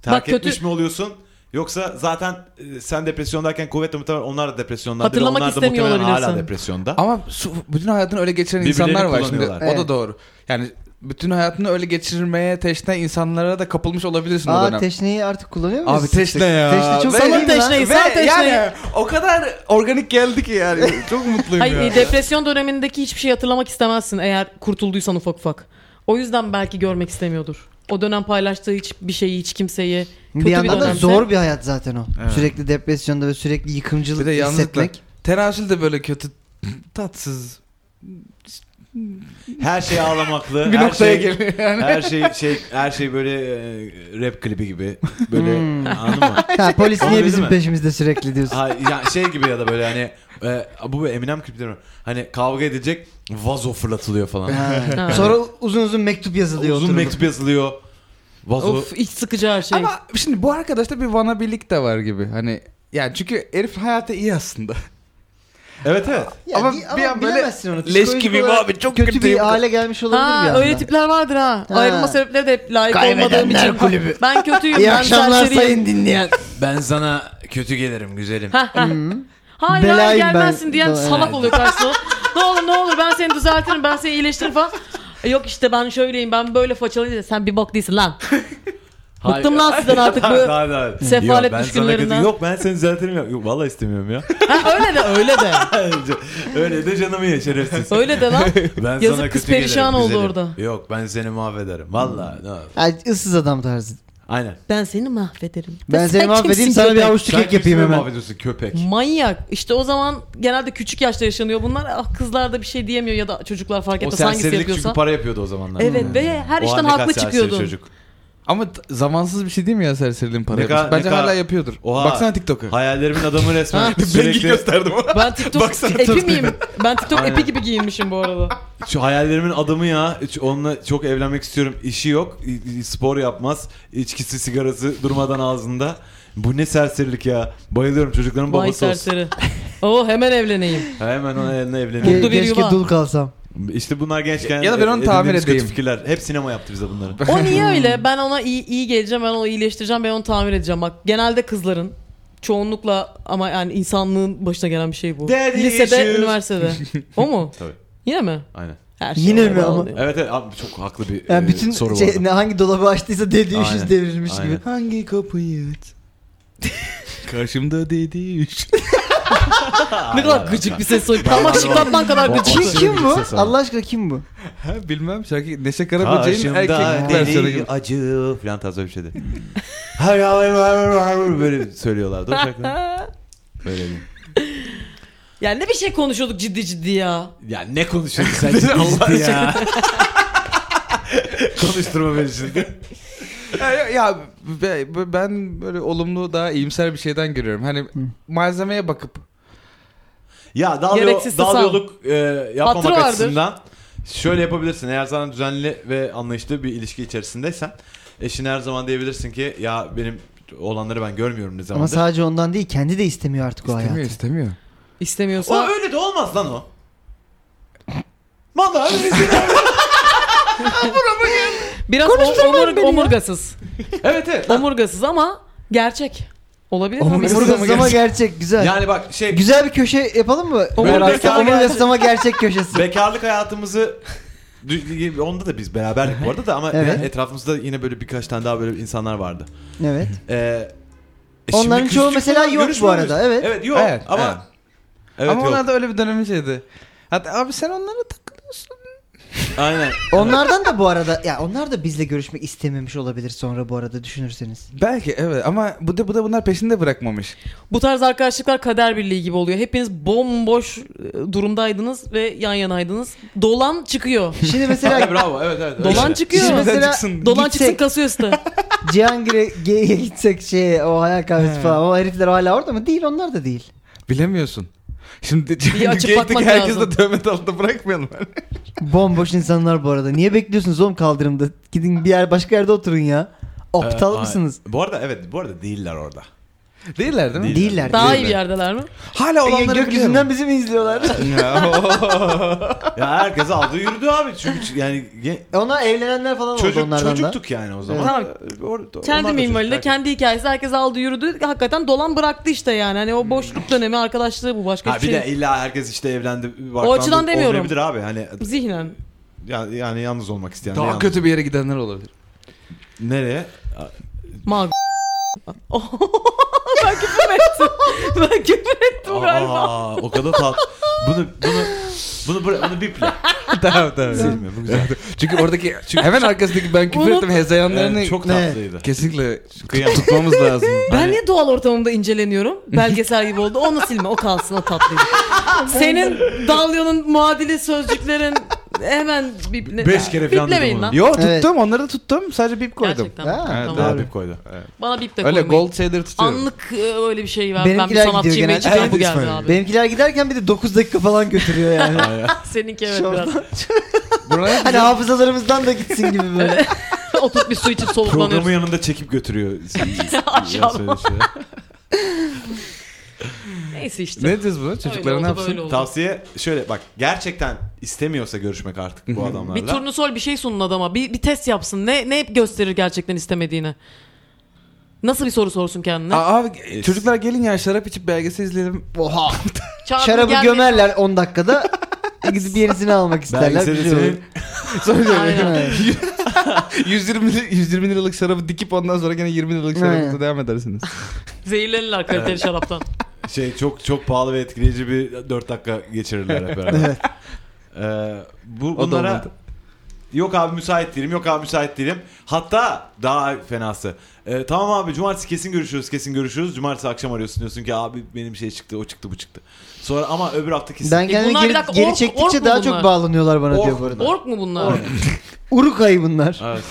[SPEAKER 2] terk
[SPEAKER 5] Bak kötü-
[SPEAKER 2] etmiş mi oluyorsun? Yoksa zaten e, sen depresyondayken kuvvetle muhtemelen onlar da depresyonda.
[SPEAKER 5] Hatırlamak
[SPEAKER 2] onlar da
[SPEAKER 5] istemiyor
[SPEAKER 2] muhtemelen hala
[SPEAKER 5] olabilirsin.
[SPEAKER 2] depresyonda.
[SPEAKER 3] Ama su- bütün hayatını öyle geçiren insanlar var şimdi.
[SPEAKER 2] kullanıyorlar.
[SPEAKER 4] Evet.
[SPEAKER 3] O da doğru. Yani bütün hayatını öyle geçirmeye teşne insanlara da kapılmış olabilirsin o
[SPEAKER 4] Aa
[SPEAKER 3] dönem.
[SPEAKER 4] teşneyi artık kullanıyor musun?
[SPEAKER 3] Abi teşne ya.
[SPEAKER 4] Teşne çok
[SPEAKER 3] Ve-
[SPEAKER 4] iyi lan.
[SPEAKER 5] Salın teşneyi, sal
[SPEAKER 3] Ve
[SPEAKER 5] teşneyi.
[SPEAKER 3] yani o kadar organik geldi ki yani. Çok mutluyum
[SPEAKER 5] Hayır,
[SPEAKER 3] ya.
[SPEAKER 5] e, depresyon dönemindeki hiçbir şey hatırlamak istemezsin eğer kurtulduysan ufak ufak. O yüzden belki görmek istemiyordur. O dönem paylaştığı hiçbir şeyi, hiç kimseyi. Kötü
[SPEAKER 4] Bir yandan da
[SPEAKER 5] dönemse-
[SPEAKER 4] zor bir hayat zaten o. Sürekli depresyonda ve sürekli
[SPEAKER 3] Bir
[SPEAKER 4] yıkımcılık
[SPEAKER 3] de yalnızlıkla.
[SPEAKER 4] hissetmek.
[SPEAKER 3] Tenasül de böyle kötü tatsız.
[SPEAKER 2] Her şey ağlamaklı.
[SPEAKER 3] Bir
[SPEAKER 2] her
[SPEAKER 3] noktaya
[SPEAKER 2] şey,
[SPEAKER 3] geliyor yani.
[SPEAKER 2] Her şey şey her şey böyle e, rap klibi gibi. Böyle
[SPEAKER 5] Hmm.
[SPEAKER 2] anladın mı?
[SPEAKER 4] Ha, polis
[SPEAKER 2] Olabilir
[SPEAKER 4] niye bizim
[SPEAKER 2] mi?
[SPEAKER 4] peşimizde sürekli diyorsun?
[SPEAKER 2] Ha, ya şey gibi ya da böyle hani e, bu bir Eminem klipleri var. Hani kavga edecek vazo fırlatılıyor falan.
[SPEAKER 4] Ha. Sonra uzun uzun mektup yazılıyor.
[SPEAKER 2] Uzun
[SPEAKER 4] oturup.
[SPEAKER 2] mektup yazılıyor. Vazo
[SPEAKER 5] Of iç sıkıcı her şey.
[SPEAKER 3] Ama şimdi bu arkadaşta bir vanabilik de var gibi. Hani yani çünkü herif hayatı iyi aslında.
[SPEAKER 2] Evet evet.
[SPEAKER 4] Ya
[SPEAKER 3] Ama
[SPEAKER 4] di-
[SPEAKER 3] bir an böyle
[SPEAKER 4] bilemezsin onu.
[SPEAKER 3] leş
[SPEAKER 4] Psikolojik
[SPEAKER 3] gibi
[SPEAKER 4] olarak
[SPEAKER 3] abi, çok
[SPEAKER 4] kötü bir
[SPEAKER 3] kötüyüm.
[SPEAKER 4] hale gelmiş olabilir bir
[SPEAKER 5] ha
[SPEAKER 4] anda.
[SPEAKER 5] öyle tipler vardır ha.
[SPEAKER 4] Ha.
[SPEAKER 5] Ayrılma sebepleri de hep layık
[SPEAKER 4] Kaybedenler
[SPEAKER 5] olmadığım için.
[SPEAKER 4] kulübü.
[SPEAKER 5] Ben kötüyüm.
[SPEAKER 4] İyi
[SPEAKER 5] ben
[SPEAKER 4] akşamlar
[SPEAKER 5] serseriyim.
[SPEAKER 4] sayın dinleyen.
[SPEAKER 2] Ben sana kötü gelirim güzelim.
[SPEAKER 5] Ha, ha. Hayır hayır
[SPEAKER 4] Belayım
[SPEAKER 5] gelmezsin
[SPEAKER 4] ben.
[SPEAKER 5] diyen
[SPEAKER 4] Doğru.
[SPEAKER 5] salak oluyor karşısında. ne olur ne olur ben seni düzeltirim ben seni iyileştiririm falan. E, Yok işte ben şöyleyim ben böyle façalıyım. Sen bir bok değilsin lan. Bıktım lan sizden artık bu sefalet düşkünlerinden.
[SPEAKER 2] Yok ben seni düzeltirim ya. Yok valla istemiyorum ya.
[SPEAKER 5] Ha, öyle de öyle de.
[SPEAKER 2] Öyle de canımı ye şerefsiz.
[SPEAKER 5] Öyle de lan.
[SPEAKER 2] Ben
[SPEAKER 5] Yazık
[SPEAKER 2] sana
[SPEAKER 5] kız
[SPEAKER 2] kötü
[SPEAKER 5] perişan
[SPEAKER 2] gelirim,
[SPEAKER 5] oldu Hmm.
[SPEAKER 2] güzelim.
[SPEAKER 5] orada.
[SPEAKER 2] Yok ben seni mahvederim. Valla. ne yap-
[SPEAKER 4] Yani ıssız adam tarzı.
[SPEAKER 2] Aynen.
[SPEAKER 5] Ben seni mahvederim.
[SPEAKER 4] Ben
[SPEAKER 5] Ve
[SPEAKER 4] seni
[SPEAKER 5] sen
[SPEAKER 4] mahvedeyim
[SPEAKER 5] kimsin
[SPEAKER 4] sana bir
[SPEAKER 5] köpek?
[SPEAKER 4] avuç
[SPEAKER 2] Sen
[SPEAKER 4] tükek yapayım
[SPEAKER 2] kimsine
[SPEAKER 4] hemen.
[SPEAKER 2] mahvediyorsun
[SPEAKER 5] Hmm.
[SPEAKER 2] köpek.
[SPEAKER 5] Manyak. İşte o zaman genelde küçük yaşta yaşanıyor bunlar. Ah, kızlar da bir şey diyemiyor ya da çocuklar fark
[SPEAKER 2] O
[SPEAKER 5] etmez hangisi
[SPEAKER 2] serserilik çünkü
[SPEAKER 5] yapıyorsa.
[SPEAKER 2] para yapıyordu o zamanlar. Hmm.
[SPEAKER 5] Evet
[SPEAKER 4] Hmm.
[SPEAKER 5] ve
[SPEAKER 2] O
[SPEAKER 5] her
[SPEAKER 2] an
[SPEAKER 5] işten
[SPEAKER 2] ne kadar
[SPEAKER 5] haklı
[SPEAKER 2] serseri
[SPEAKER 5] çıkıyordun.
[SPEAKER 2] Çocuk.
[SPEAKER 3] Ama t- zamansız bir şey değil mi ya serseriliğin para
[SPEAKER 2] Ne kadar-
[SPEAKER 3] yapması? Bence
[SPEAKER 2] ne kadar-
[SPEAKER 3] hala yapıyordur.
[SPEAKER 2] Oha.
[SPEAKER 3] Baksana TikTok'a.
[SPEAKER 2] Hayallerimin adamı resmen.
[SPEAKER 5] Ha.
[SPEAKER 2] sürekli gösterdim.
[SPEAKER 5] Ben TikTok
[SPEAKER 2] Baksana
[SPEAKER 5] epi
[SPEAKER 2] tırtıklı.
[SPEAKER 5] miyim? Ben TikTok epi gibi giyinmişim bu arada.
[SPEAKER 2] Şu hayallerimin adamı ya. Hiç Onunla çok evlenmek istiyorum. İşi yok. i- i- Spor yapmaz. İçkisi sigarası durmadan ağzında. Bu ne serserilik ya. Bayılıyorum çocukların
[SPEAKER 5] Vay
[SPEAKER 2] babası olsun.
[SPEAKER 5] serseri. Oo hemen evleneyim.
[SPEAKER 2] Hemen onun eline
[SPEAKER 4] Ke-
[SPEAKER 2] evlenelim.
[SPEAKER 5] Mutlu bir
[SPEAKER 4] keşke
[SPEAKER 5] yuva.
[SPEAKER 4] dul kalsam.
[SPEAKER 2] İşte bunlar gençken
[SPEAKER 3] Ya da ben onu
[SPEAKER 2] edindiğimiz
[SPEAKER 3] tamir edeyim.
[SPEAKER 2] kötü fikirler. Hep sinema yaptı bize bunları.
[SPEAKER 5] O niye öyle? Ben ona iyi, iyi geleceğim, ben onu iyileştireceğim, ben onu tamir edeceğim. Bak genelde kızların çoğunlukla ama yani insanlığın başına gelen bir şey bu.
[SPEAKER 2] Daddy
[SPEAKER 5] Lisede,
[SPEAKER 2] issues.
[SPEAKER 5] üniversitede. O mu?
[SPEAKER 2] Tabii.
[SPEAKER 5] Yine mi?
[SPEAKER 2] Aynen.
[SPEAKER 5] Her şey
[SPEAKER 4] Yine mi
[SPEAKER 5] orada
[SPEAKER 4] ama?
[SPEAKER 5] oluyor.
[SPEAKER 2] Evet evet abi çok haklı bir
[SPEAKER 4] Yani
[SPEAKER 2] e,
[SPEAKER 4] bütün
[SPEAKER 2] soru
[SPEAKER 4] şey,
[SPEAKER 2] bu arada.
[SPEAKER 4] ne- hangi dolabı açtıysa dediği
[SPEAKER 2] Aynen,
[SPEAKER 4] işi devirmiş
[SPEAKER 2] aynen.
[SPEAKER 4] gibi.
[SPEAKER 3] Hangi kapıyı aç? Karşımda dedi üç.
[SPEAKER 5] Ne kadar gıcık bir ses soy.
[SPEAKER 2] Parmak
[SPEAKER 5] Parmak şıklatman kadar
[SPEAKER 2] Bak-
[SPEAKER 5] gıcık.
[SPEAKER 4] Kim,
[SPEAKER 2] Aşırı
[SPEAKER 4] kim
[SPEAKER 2] bir
[SPEAKER 4] bu?
[SPEAKER 2] ses ama.
[SPEAKER 4] Allah aşkına kim bu?
[SPEAKER 3] Ha bilmem şarkı Neşe Karaböcek'in erkek
[SPEAKER 2] Karşımda
[SPEAKER 3] versiyonu gibi.
[SPEAKER 2] deli acı falan tarzı bir şeydi. Hay hay hay hay böyle söylüyorlardı o şarkıda. Böyle bir.
[SPEAKER 5] Yani ne bir şey konuşuyorduk ciddi ciddi ya.
[SPEAKER 2] Ya ne konuşuyorsun sen Allah ya. Konuşturma beni şimdi.
[SPEAKER 3] Ya, ya- ya be- be- ben böyle olumlu daha iyimser bir şeyden görüyorum. Hani malzemeye bakıp
[SPEAKER 2] Ya dal, yol,
[SPEAKER 5] Gereksiz
[SPEAKER 2] dal
[SPEAKER 5] tasam.
[SPEAKER 2] yoluk e, yapmamak
[SPEAKER 5] Hatırı vardır.
[SPEAKER 2] açısından şöyle yapabilirsin. Eğer sana düzenli ve anlayışlı bir ilişki içerisindeysen eşine her zaman diyebilirsin ki ya benim olanları ben görmüyorum ne
[SPEAKER 4] Ama
[SPEAKER 2] zamandır.
[SPEAKER 4] sadece ondan değil kendi de istemiyor artık o
[SPEAKER 3] istemiyor
[SPEAKER 4] hayatı.
[SPEAKER 3] istemiyor.
[SPEAKER 5] İstemiyorsa
[SPEAKER 2] O öyle de olmaz lan o. Vallahi öyle şey değil.
[SPEAKER 5] biraz o- omur- omurgasız.
[SPEAKER 2] evet evet.
[SPEAKER 5] omurgasız ama gerçek. Olabilir mi?
[SPEAKER 4] Omurgasız ama gerçek güzel.
[SPEAKER 2] Yani bak şey
[SPEAKER 4] Güzel bir köşe yapalım mı?
[SPEAKER 2] Omurgasız ama gerçek.
[SPEAKER 4] Omurgasız ama gerçek köşesi.
[SPEAKER 2] bekarlık hayatımızı dü- onda da biz beraberdik bu arada da ama
[SPEAKER 4] Evet.
[SPEAKER 2] yani etrafımızda yine böyle birkaç tane daha böyle insanlar vardı.
[SPEAKER 4] Evet.
[SPEAKER 2] Ee, e
[SPEAKER 4] Onların
[SPEAKER 2] şimdi
[SPEAKER 4] çoğu
[SPEAKER 2] küstük
[SPEAKER 4] mesela
[SPEAKER 2] falan,
[SPEAKER 4] yok bu
[SPEAKER 2] görüşmüyoruz.
[SPEAKER 4] arada, evet.
[SPEAKER 2] Evet yok
[SPEAKER 3] Evet,
[SPEAKER 2] ama
[SPEAKER 3] evet.
[SPEAKER 2] evet,
[SPEAKER 3] Ama
[SPEAKER 2] yok.
[SPEAKER 3] onlar da öyle bir dönemin şeydi. Hatta abi sen onlara takılıyorsun.
[SPEAKER 2] Aynen.
[SPEAKER 4] Onlardan da bu arada ya onlar da bizle görüşmek istememiş olabilir sonra bu arada düşünürseniz.
[SPEAKER 3] Belki evet ama bu da, bu da bunlar peşinde bırakmamış.
[SPEAKER 5] Bu tarz arkadaşlıklar kader birliği gibi oluyor. Hepiniz bomboş e, durumdaydınız ve yan yanaydınız. Dolan çıkıyor.
[SPEAKER 4] Şimdi mesela
[SPEAKER 2] Bravo evet evet. öyle. şey.
[SPEAKER 5] Dolan
[SPEAKER 4] şimdi
[SPEAKER 5] çıkıyor.
[SPEAKER 3] Şimdi-
[SPEAKER 4] mesela
[SPEAKER 3] Çıksın.
[SPEAKER 5] Dolan çıksın
[SPEAKER 4] gitsek,
[SPEAKER 5] kasıyor üstü.
[SPEAKER 4] Cihangir'e G'ye gitsek şey o hayal kahvesi falan o herifler hala orada mı? Değil onlar da değil.
[SPEAKER 3] Bilemiyorsun. Şimdi
[SPEAKER 5] açıp
[SPEAKER 3] geyikteki
[SPEAKER 5] bakmak
[SPEAKER 3] herkesi de
[SPEAKER 5] lazım.
[SPEAKER 3] dövme altında bırakmayalım.
[SPEAKER 4] Bomboş insanlar bu arada. Niye bekliyorsunuz oğlum kaldırımda? Gidin bir yer başka yerde oturun ya. Aptal
[SPEAKER 2] Ee,
[SPEAKER 4] mısınız?
[SPEAKER 2] ay- Bu arada evet bu arada değiller orada.
[SPEAKER 3] Değiller değil
[SPEAKER 2] Değil.
[SPEAKER 3] mi?
[SPEAKER 4] Değiller.
[SPEAKER 5] Daha iyi
[SPEAKER 4] değiller.
[SPEAKER 5] bir yerdeler mi?
[SPEAKER 3] Hala olanları oh.
[SPEAKER 4] Gökyüzünden bizi mi izliyorlar?
[SPEAKER 3] biliyorum. Ya,
[SPEAKER 2] Ya herkes aldı yürüdü abi çünkü yani ge-
[SPEAKER 4] Ona evlenenler falan oldu
[SPEAKER 2] çocuk
[SPEAKER 4] onlardan da.
[SPEAKER 2] çocuktuk yani o zaman.
[SPEAKER 5] Tamam.
[SPEAKER 2] Ee, or- onlar
[SPEAKER 5] Kendi
[SPEAKER 2] da
[SPEAKER 5] minvalinde
[SPEAKER 2] çocuklar.
[SPEAKER 5] kendi hikayesi herkes aldı yürüdü. Hakikaten dolan bıraktı işte yani. Hani o boşluk dönemi arkadaşlığı bu başka
[SPEAKER 2] Ha
[SPEAKER 5] hiçbir
[SPEAKER 2] bir
[SPEAKER 5] şey.
[SPEAKER 2] de
[SPEAKER 5] yok.
[SPEAKER 2] illa herkes işte evlendi.
[SPEAKER 5] O açıdan demiyorum.
[SPEAKER 2] Olmayabilir abi hani
[SPEAKER 5] Zihnen.
[SPEAKER 2] yani, yani yalnız olmak isteyen.
[SPEAKER 3] Daha
[SPEAKER 2] yalnız-
[SPEAKER 3] kötü bir yere gidenler olabilir.
[SPEAKER 2] Nereye?
[SPEAKER 5] Mag. ben küfür ettim. ben küfür ettim galiba.
[SPEAKER 2] Aa, o kadar tat. Bunu bunu bunu bırak bunu biple.
[SPEAKER 3] tamam tamam.
[SPEAKER 2] Silme bu güzel.
[SPEAKER 3] Çünkü oradaki hemen arkasındaki ben küfür
[SPEAKER 5] Unut-
[SPEAKER 3] ettim hezeyanlarını
[SPEAKER 2] Evet, çok
[SPEAKER 3] ne?
[SPEAKER 2] tatlıydı.
[SPEAKER 3] Kesinlikle
[SPEAKER 2] Kıyam.
[SPEAKER 3] tutmamız lazım. Hani
[SPEAKER 5] Ben
[SPEAKER 2] Hani-
[SPEAKER 5] niye doğal ortamımda inceleniyorum? Belgesel gibi oldu. Onu silme. O kalsın. O tatlıydı. Senin dalyonun muadili sözcüklerin hemen biple...
[SPEAKER 2] Beş kere falan dedim
[SPEAKER 5] Biplemeyin
[SPEAKER 2] onu.
[SPEAKER 5] lan.
[SPEAKER 3] Yo tuttum
[SPEAKER 4] Evet.
[SPEAKER 3] onları da tuttum sadece bip koydum.
[SPEAKER 5] Gerçekten.
[SPEAKER 4] Ha,
[SPEAKER 5] Tamam.
[SPEAKER 3] evet,
[SPEAKER 2] Daha
[SPEAKER 4] Doğru.
[SPEAKER 2] bip koydu.
[SPEAKER 5] Bana bip de
[SPEAKER 3] Öyle
[SPEAKER 5] koymayın.
[SPEAKER 3] gold shader tutuyorum.
[SPEAKER 5] Anlık e, öyle bir şey var. Ben bir
[SPEAKER 4] Benimkiler
[SPEAKER 5] sanatçıyım.
[SPEAKER 4] gidiyor
[SPEAKER 5] Benimkiler
[SPEAKER 4] genelde.
[SPEAKER 5] bu geldi abi.
[SPEAKER 4] Benimkiler giderken bir de 9 dakika falan götürüyor yani.
[SPEAKER 5] Seninki evet
[SPEAKER 4] Şu
[SPEAKER 5] biraz.
[SPEAKER 3] Buraya
[SPEAKER 4] hani hafızalarımızdan da gitsin gibi böyle.
[SPEAKER 5] Oturup bir su içip soluklanıyoruz.
[SPEAKER 2] Programı yanında çekip götürüyor.
[SPEAKER 5] Aşağılık.
[SPEAKER 2] Söyle şöyle.
[SPEAKER 5] Neyse işte.
[SPEAKER 3] ne diyeceğiz buna?
[SPEAKER 5] Öyle
[SPEAKER 3] Çocuklara
[SPEAKER 5] oldu,
[SPEAKER 3] ne yapsın?
[SPEAKER 5] böyle oldu.
[SPEAKER 2] Tavsiye şöyle bak gerçekten istemiyorsa görüşmek artık bu adamlarla.
[SPEAKER 5] Bir turnusol bir şey sunun adama. Bir, bir test yapsın. Ne ne hep gösterir gerçekten istemediğini. Nasıl bir soru sorsun kendine?
[SPEAKER 3] Aa, abi çocuklar gelin ya şarap içip belgesel izleyelim.
[SPEAKER 4] Oha.
[SPEAKER 5] Çağrı
[SPEAKER 4] Şarabı
[SPEAKER 5] gelmeyin.
[SPEAKER 4] gömerler 10 dakikada. E Gidip yenisini almak isterler.
[SPEAKER 2] Belgeseli
[SPEAKER 4] Güzel olur.
[SPEAKER 2] senin
[SPEAKER 5] Aynen.
[SPEAKER 3] 120 li- 120 liralık şarabı dikip ondan sonra gene 20 liralık şarabınıza
[SPEAKER 4] Aynen.
[SPEAKER 3] devam edersiniz.
[SPEAKER 5] Zehirlenirler kaliteli şaraptan.
[SPEAKER 2] şey çok çok pahalı ve etkileyici bir 4 dakika geçirirler hep beraber. Ee, bu
[SPEAKER 3] da
[SPEAKER 2] bunlara
[SPEAKER 3] olmadı.
[SPEAKER 2] Yok abi müsait değilim. Yok abi müsait değilim. Hatta daha fenası. Ee, tamam abi cumartesi kesin görüşürüz kesin görüşürüz. Cumartesi akşam arıyorsun diyorsun ki abi benim şey çıktı o çıktı bu çıktı. Sonra ama öbür hafta kesin.
[SPEAKER 4] Ben kendimi
[SPEAKER 5] E, bunlar bir
[SPEAKER 4] geri,
[SPEAKER 5] dakika,
[SPEAKER 4] geri
[SPEAKER 5] ork-
[SPEAKER 4] çektikçe
[SPEAKER 5] ork mu
[SPEAKER 4] daha
[SPEAKER 5] bunlar?
[SPEAKER 4] çok bağlanıyorlar bana
[SPEAKER 2] Ork
[SPEAKER 4] diyor bu arada.
[SPEAKER 5] Ork mu bunlar?
[SPEAKER 4] Uruk ayı bunlar.
[SPEAKER 2] Evet.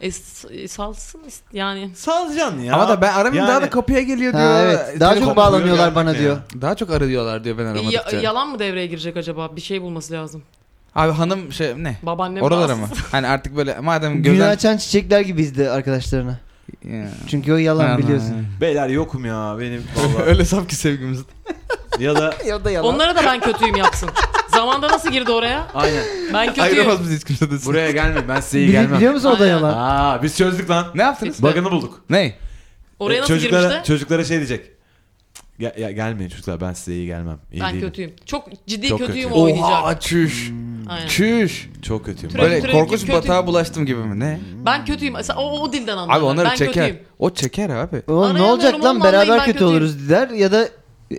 [SPEAKER 5] E, s- e, salsın ist- yani.
[SPEAKER 2] Salacaksın ya.
[SPEAKER 3] Ama da ben aramayayım daha
[SPEAKER 2] Yani-
[SPEAKER 3] da kapıya geliyor diyor.
[SPEAKER 4] Ha, evet. Daha
[SPEAKER 3] Telefon-
[SPEAKER 4] çok bağlanıyorlar
[SPEAKER 2] gelmek
[SPEAKER 4] bana
[SPEAKER 2] ne
[SPEAKER 4] diyor.
[SPEAKER 2] ya?
[SPEAKER 3] Daha çok arıyorlar diyor ben
[SPEAKER 5] Ya-
[SPEAKER 3] aramadıkça.
[SPEAKER 5] yalan mı devreye girecek acaba? Bir şey bulması lazım.
[SPEAKER 3] Abi hanım şey ne?
[SPEAKER 5] Babaannem
[SPEAKER 3] Oralara
[SPEAKER 5] rahatsız.
[SPEAKER 3] mı? Hani artık böyle madem
[SPEAKER 4] Gül
[SPEAKER 3] gözden...
[SPEAKER 4] açan çiçekler gibiydi arkadaşlarına.
[SPEAKER 3] Ya.
[SPEAKER 4] Çünkü o yalan biliyorsun.
[SPEAKER 2] Beyler yokum ya benim vallahi.
[SPEAKER 3] Öyle saf ki sevgimiz.
[SPEAKER 2] ya da
[SPEAKER 4] Ya da yalan.
[SPEAKER 5] Onlara da ben kötüyüm yapsın. Zamanda nasıl girdi oraya?
[SPEAKER 2] aynen
[SPEAKER 5] Ben kötüyüm.
[SPEAKER 3] Ayıramaz bizi hiç kimse desin.
[SPEAKER 2] buraya gelme ben size iyi
[SPEAKER 4] Bili-
[SPEAKER 2] gelmem.
[SPEAKER 4] biliyor musun o da
[SPEAKER 5] Aynen.
[SPEAKER 4] yalan?
[SPEAKER 2] Aa biz çözdük lan.
[SPEAKER 3] Ne yaptınız?
[SPEAKER 2] Bug'ını bulduk.
[SPEAKER 3] Ne?
[SPEAKER 5] Oraya
[SPEAKER 2] E,
[SPEAKER 5] nasıl
[SPEAKER 2] çocuklara,
[SPEAKER 5] girmişti?
[SPEAKER 2] Çocuklara şey diyecek. Ya, ya gelmeyin çocuklar ben size iyi gelmem. İyi
[SPEAKER 5] Ben
[SPEAKER 2] değilim.
[SPEAKER 5] kötüyüm. Çok ciddi
[SPEAKER 2] Çok
[SPEAKER 5] kötüyüm
[SPEAKER 2] kötü.
[SPEAKER 5] o oynayacak.
[SPEAKER 3] Oha çüş.
[SPEAKER 5] Aynen.
[SPEAKER 3] Çüş.
[SPEAKER 2] Çok kötüyüm.
[SPEAKER 5] Türe-
[SPEAKER 2] Ben-
[SPEAKER 3] Böyle
[SPEAKER 5] Kötü,
[SPEAKER 3] korkunç
[SPEAKER 5] kötü.
[SPEAKER 3] batağa bulaştım gibi mi? Ne?
[SPEAKER 5] Ben kötüyüm. Sen- O, o dilden anlıyorum.
[SPEAKER 3] Abi onları
[SPEAKER 5] ben
[SPEAKER 3] çeker.
[SPEAKER 5] kötüyüm.
[SPEAKER 3] O çeker abi.
[SPEAKER 4] O ne
[SPEAKER 5] Arayamıyorum
[SPEAKER 4] olacak lan
[SPEAKER 5] oğlum, vallahi
[SPEAKER 4] beraber
[SPEAKER 5] ben
[SPEAKER 4] kötü
[SPEAKER 5] kötüyüm.
[SPEAKER 4] oluruz der ya da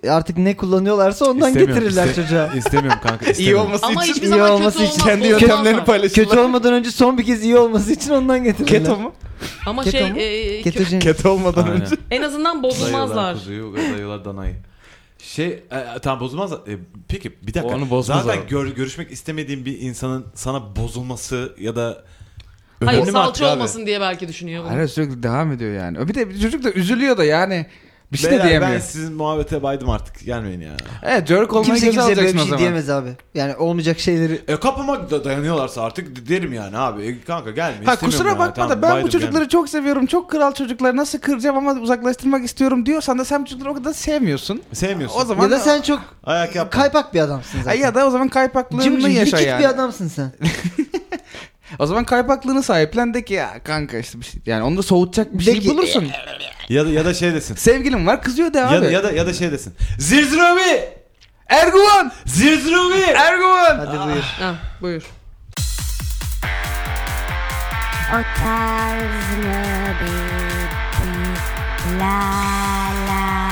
[SPEAKER 4] artık ne kullanıyorlarsa ondan
[SPEAKER 2] İstemiyorum,
[SPEAKER 4] getirirler
[SPEAKER 2] iste-
[SPEAKER 4] çocuğa.
[SPEAKER 2] İstemiyorum kanka istemiyorum.
[SPEAKER 5] Ama hiçbir
[SPEAKER 4] iyi
[SPEAKER 5] zaman kötü
[SPEAKER 4] olması
[SPEAKER 5] olmaz.
[SPEAKER 4] için
[SPEAKER 3] kendi
[SPEAKER 5] olmaz
[SPEAKER 3] yöntemlerini
[SPEAKER 5] ama.
[SPEAKER 3] paylaşırlar.
[SPEAKER 4] Kötü olmadan önce son bir kez iyi olması için ondan getirirler.
[SPEAKER 3] Keto mu?
[SPEAKER 5] Ama
[SPEAKER 4] Keto
[SPEAKER 5] şey
[SPEAKER 4] mu?
[SPEAKER 5] e, kö-
[SPEAKER 4] Ketojen.
[SPEAKER 3] Keto olmadan
[SPEAKER 2] Aynen.
[SPEAKER 3] önce.
[SPEAKER 5] en azından bozulmazlar.
[SPEAKER 2] Dayılar kuzuyu, dayılar danayı. Şey e, e, tamam bozulmazlar. E, peki bir dakika.
[SPEAKER 3] Onu bozmaz
[SPEAKER 2] Zaten
[SPEAKER 3] abi.
[SPEAKER 2] gör, görüşmek istemediğin bir insanın sana bozulması ya da
[SPEAKER 5] Hayır
[SPEAKER 2] Önemli mi artık
[SPEAKER 5] salça
[SPEAKER 2] abi?
[SPEAKER 5] olmasın diye belki düşünüyor bunu.
[SPEAKER 3] Hayır sürekli devam ediyor yani. Bir de çocuk da üzülüyor da yani. Bir şey de
[SPEAKER 2] Beyler,
[SPEAKER 3] diyemiyor.
[SPEAKER 2] ben sizin muhabbete baydım artık gelmeyin ya.
[SPEAKER 3] Evet jerk olmayı
[SPEAKER 4] Kimse
[SPEAKER 3] göze
[SPEAKER 4] kimseye böyle
[SPEAKER 3] alacaksın
[SPEAKER 4] bir
[SPEAKER 3] o
[SPEAKER 4] şey
[SPEAKER 3] zaman.
[SPEAKER 4] diyemez abi. Yani olmayacak şeyleri.
[SPEAKER 2] E kapıma da dayanıyorlarsa artık derim yani abi e, kanka gelme
[SPEAKER 3] Ha
[SPEAKER 2] istemiyorum
[SPEAKER 3] kusura
[SPEAKER 2] yani,
[SPEAKER 3] bakma
[SPEAKER 2] tamam,
[SPEAKER 3] da ben
[SPEAKER 2] baydım
[SPEAKER 3] bu çocukları
[SPEAKER 2] yani.
[SPEAKER 3] çok seviyorum. Çok kral çocuklar nasıl kıracağım ama uzaklaştırmak istiyorum diyorsan da sen bu çocukları o kadar sevmiyorsun.
[SPEAKER 2] sevmiyorsun.
[SPEAKER 3] O zaman
[SPEAKER 4] Ya da sen çok
[SPEAKER 2] ayak yap.
[SPEAKER 4] kaypak bir adamsın
[SPEAKER 3] Ay
[SPEAKER 4] zaten.
[SPEAKER 3] ya da o zaman
[SPEAKER 4] Cimcik,
[SPEAKER 3] kaypaklığını yaşa
[SPEAKER 4] likit
[SPEAKER 3] yani.
[SPEAKER 4] bir adamsın sen.
[SPEAKER 3] O zaman kaypaklığını sahiplen de ki ya kanka işte bir şey yani onu da soğutacak bir şey
[SPEAKER 4] ki- "E,
[SPEAKER 3] bulursun.
[SPEAKER 2] Ya da ya da şey desin.
[SPEAKER 3] Sevgilim var kızıyor da abi.
[SPEAKER 2] Ya da, ya da ya da şey desin. Zirzinomi!
[SPEAKER 3] Erguvan!
[SPEAKER 2] Zirzinomi!
[SPEAKER 3] Erguvan!
[SPEAKER 4] Hadi buyur.
[SPEAKER 5] Ha, buyur.
[SPEAKER 7] Otaz nöbeti La la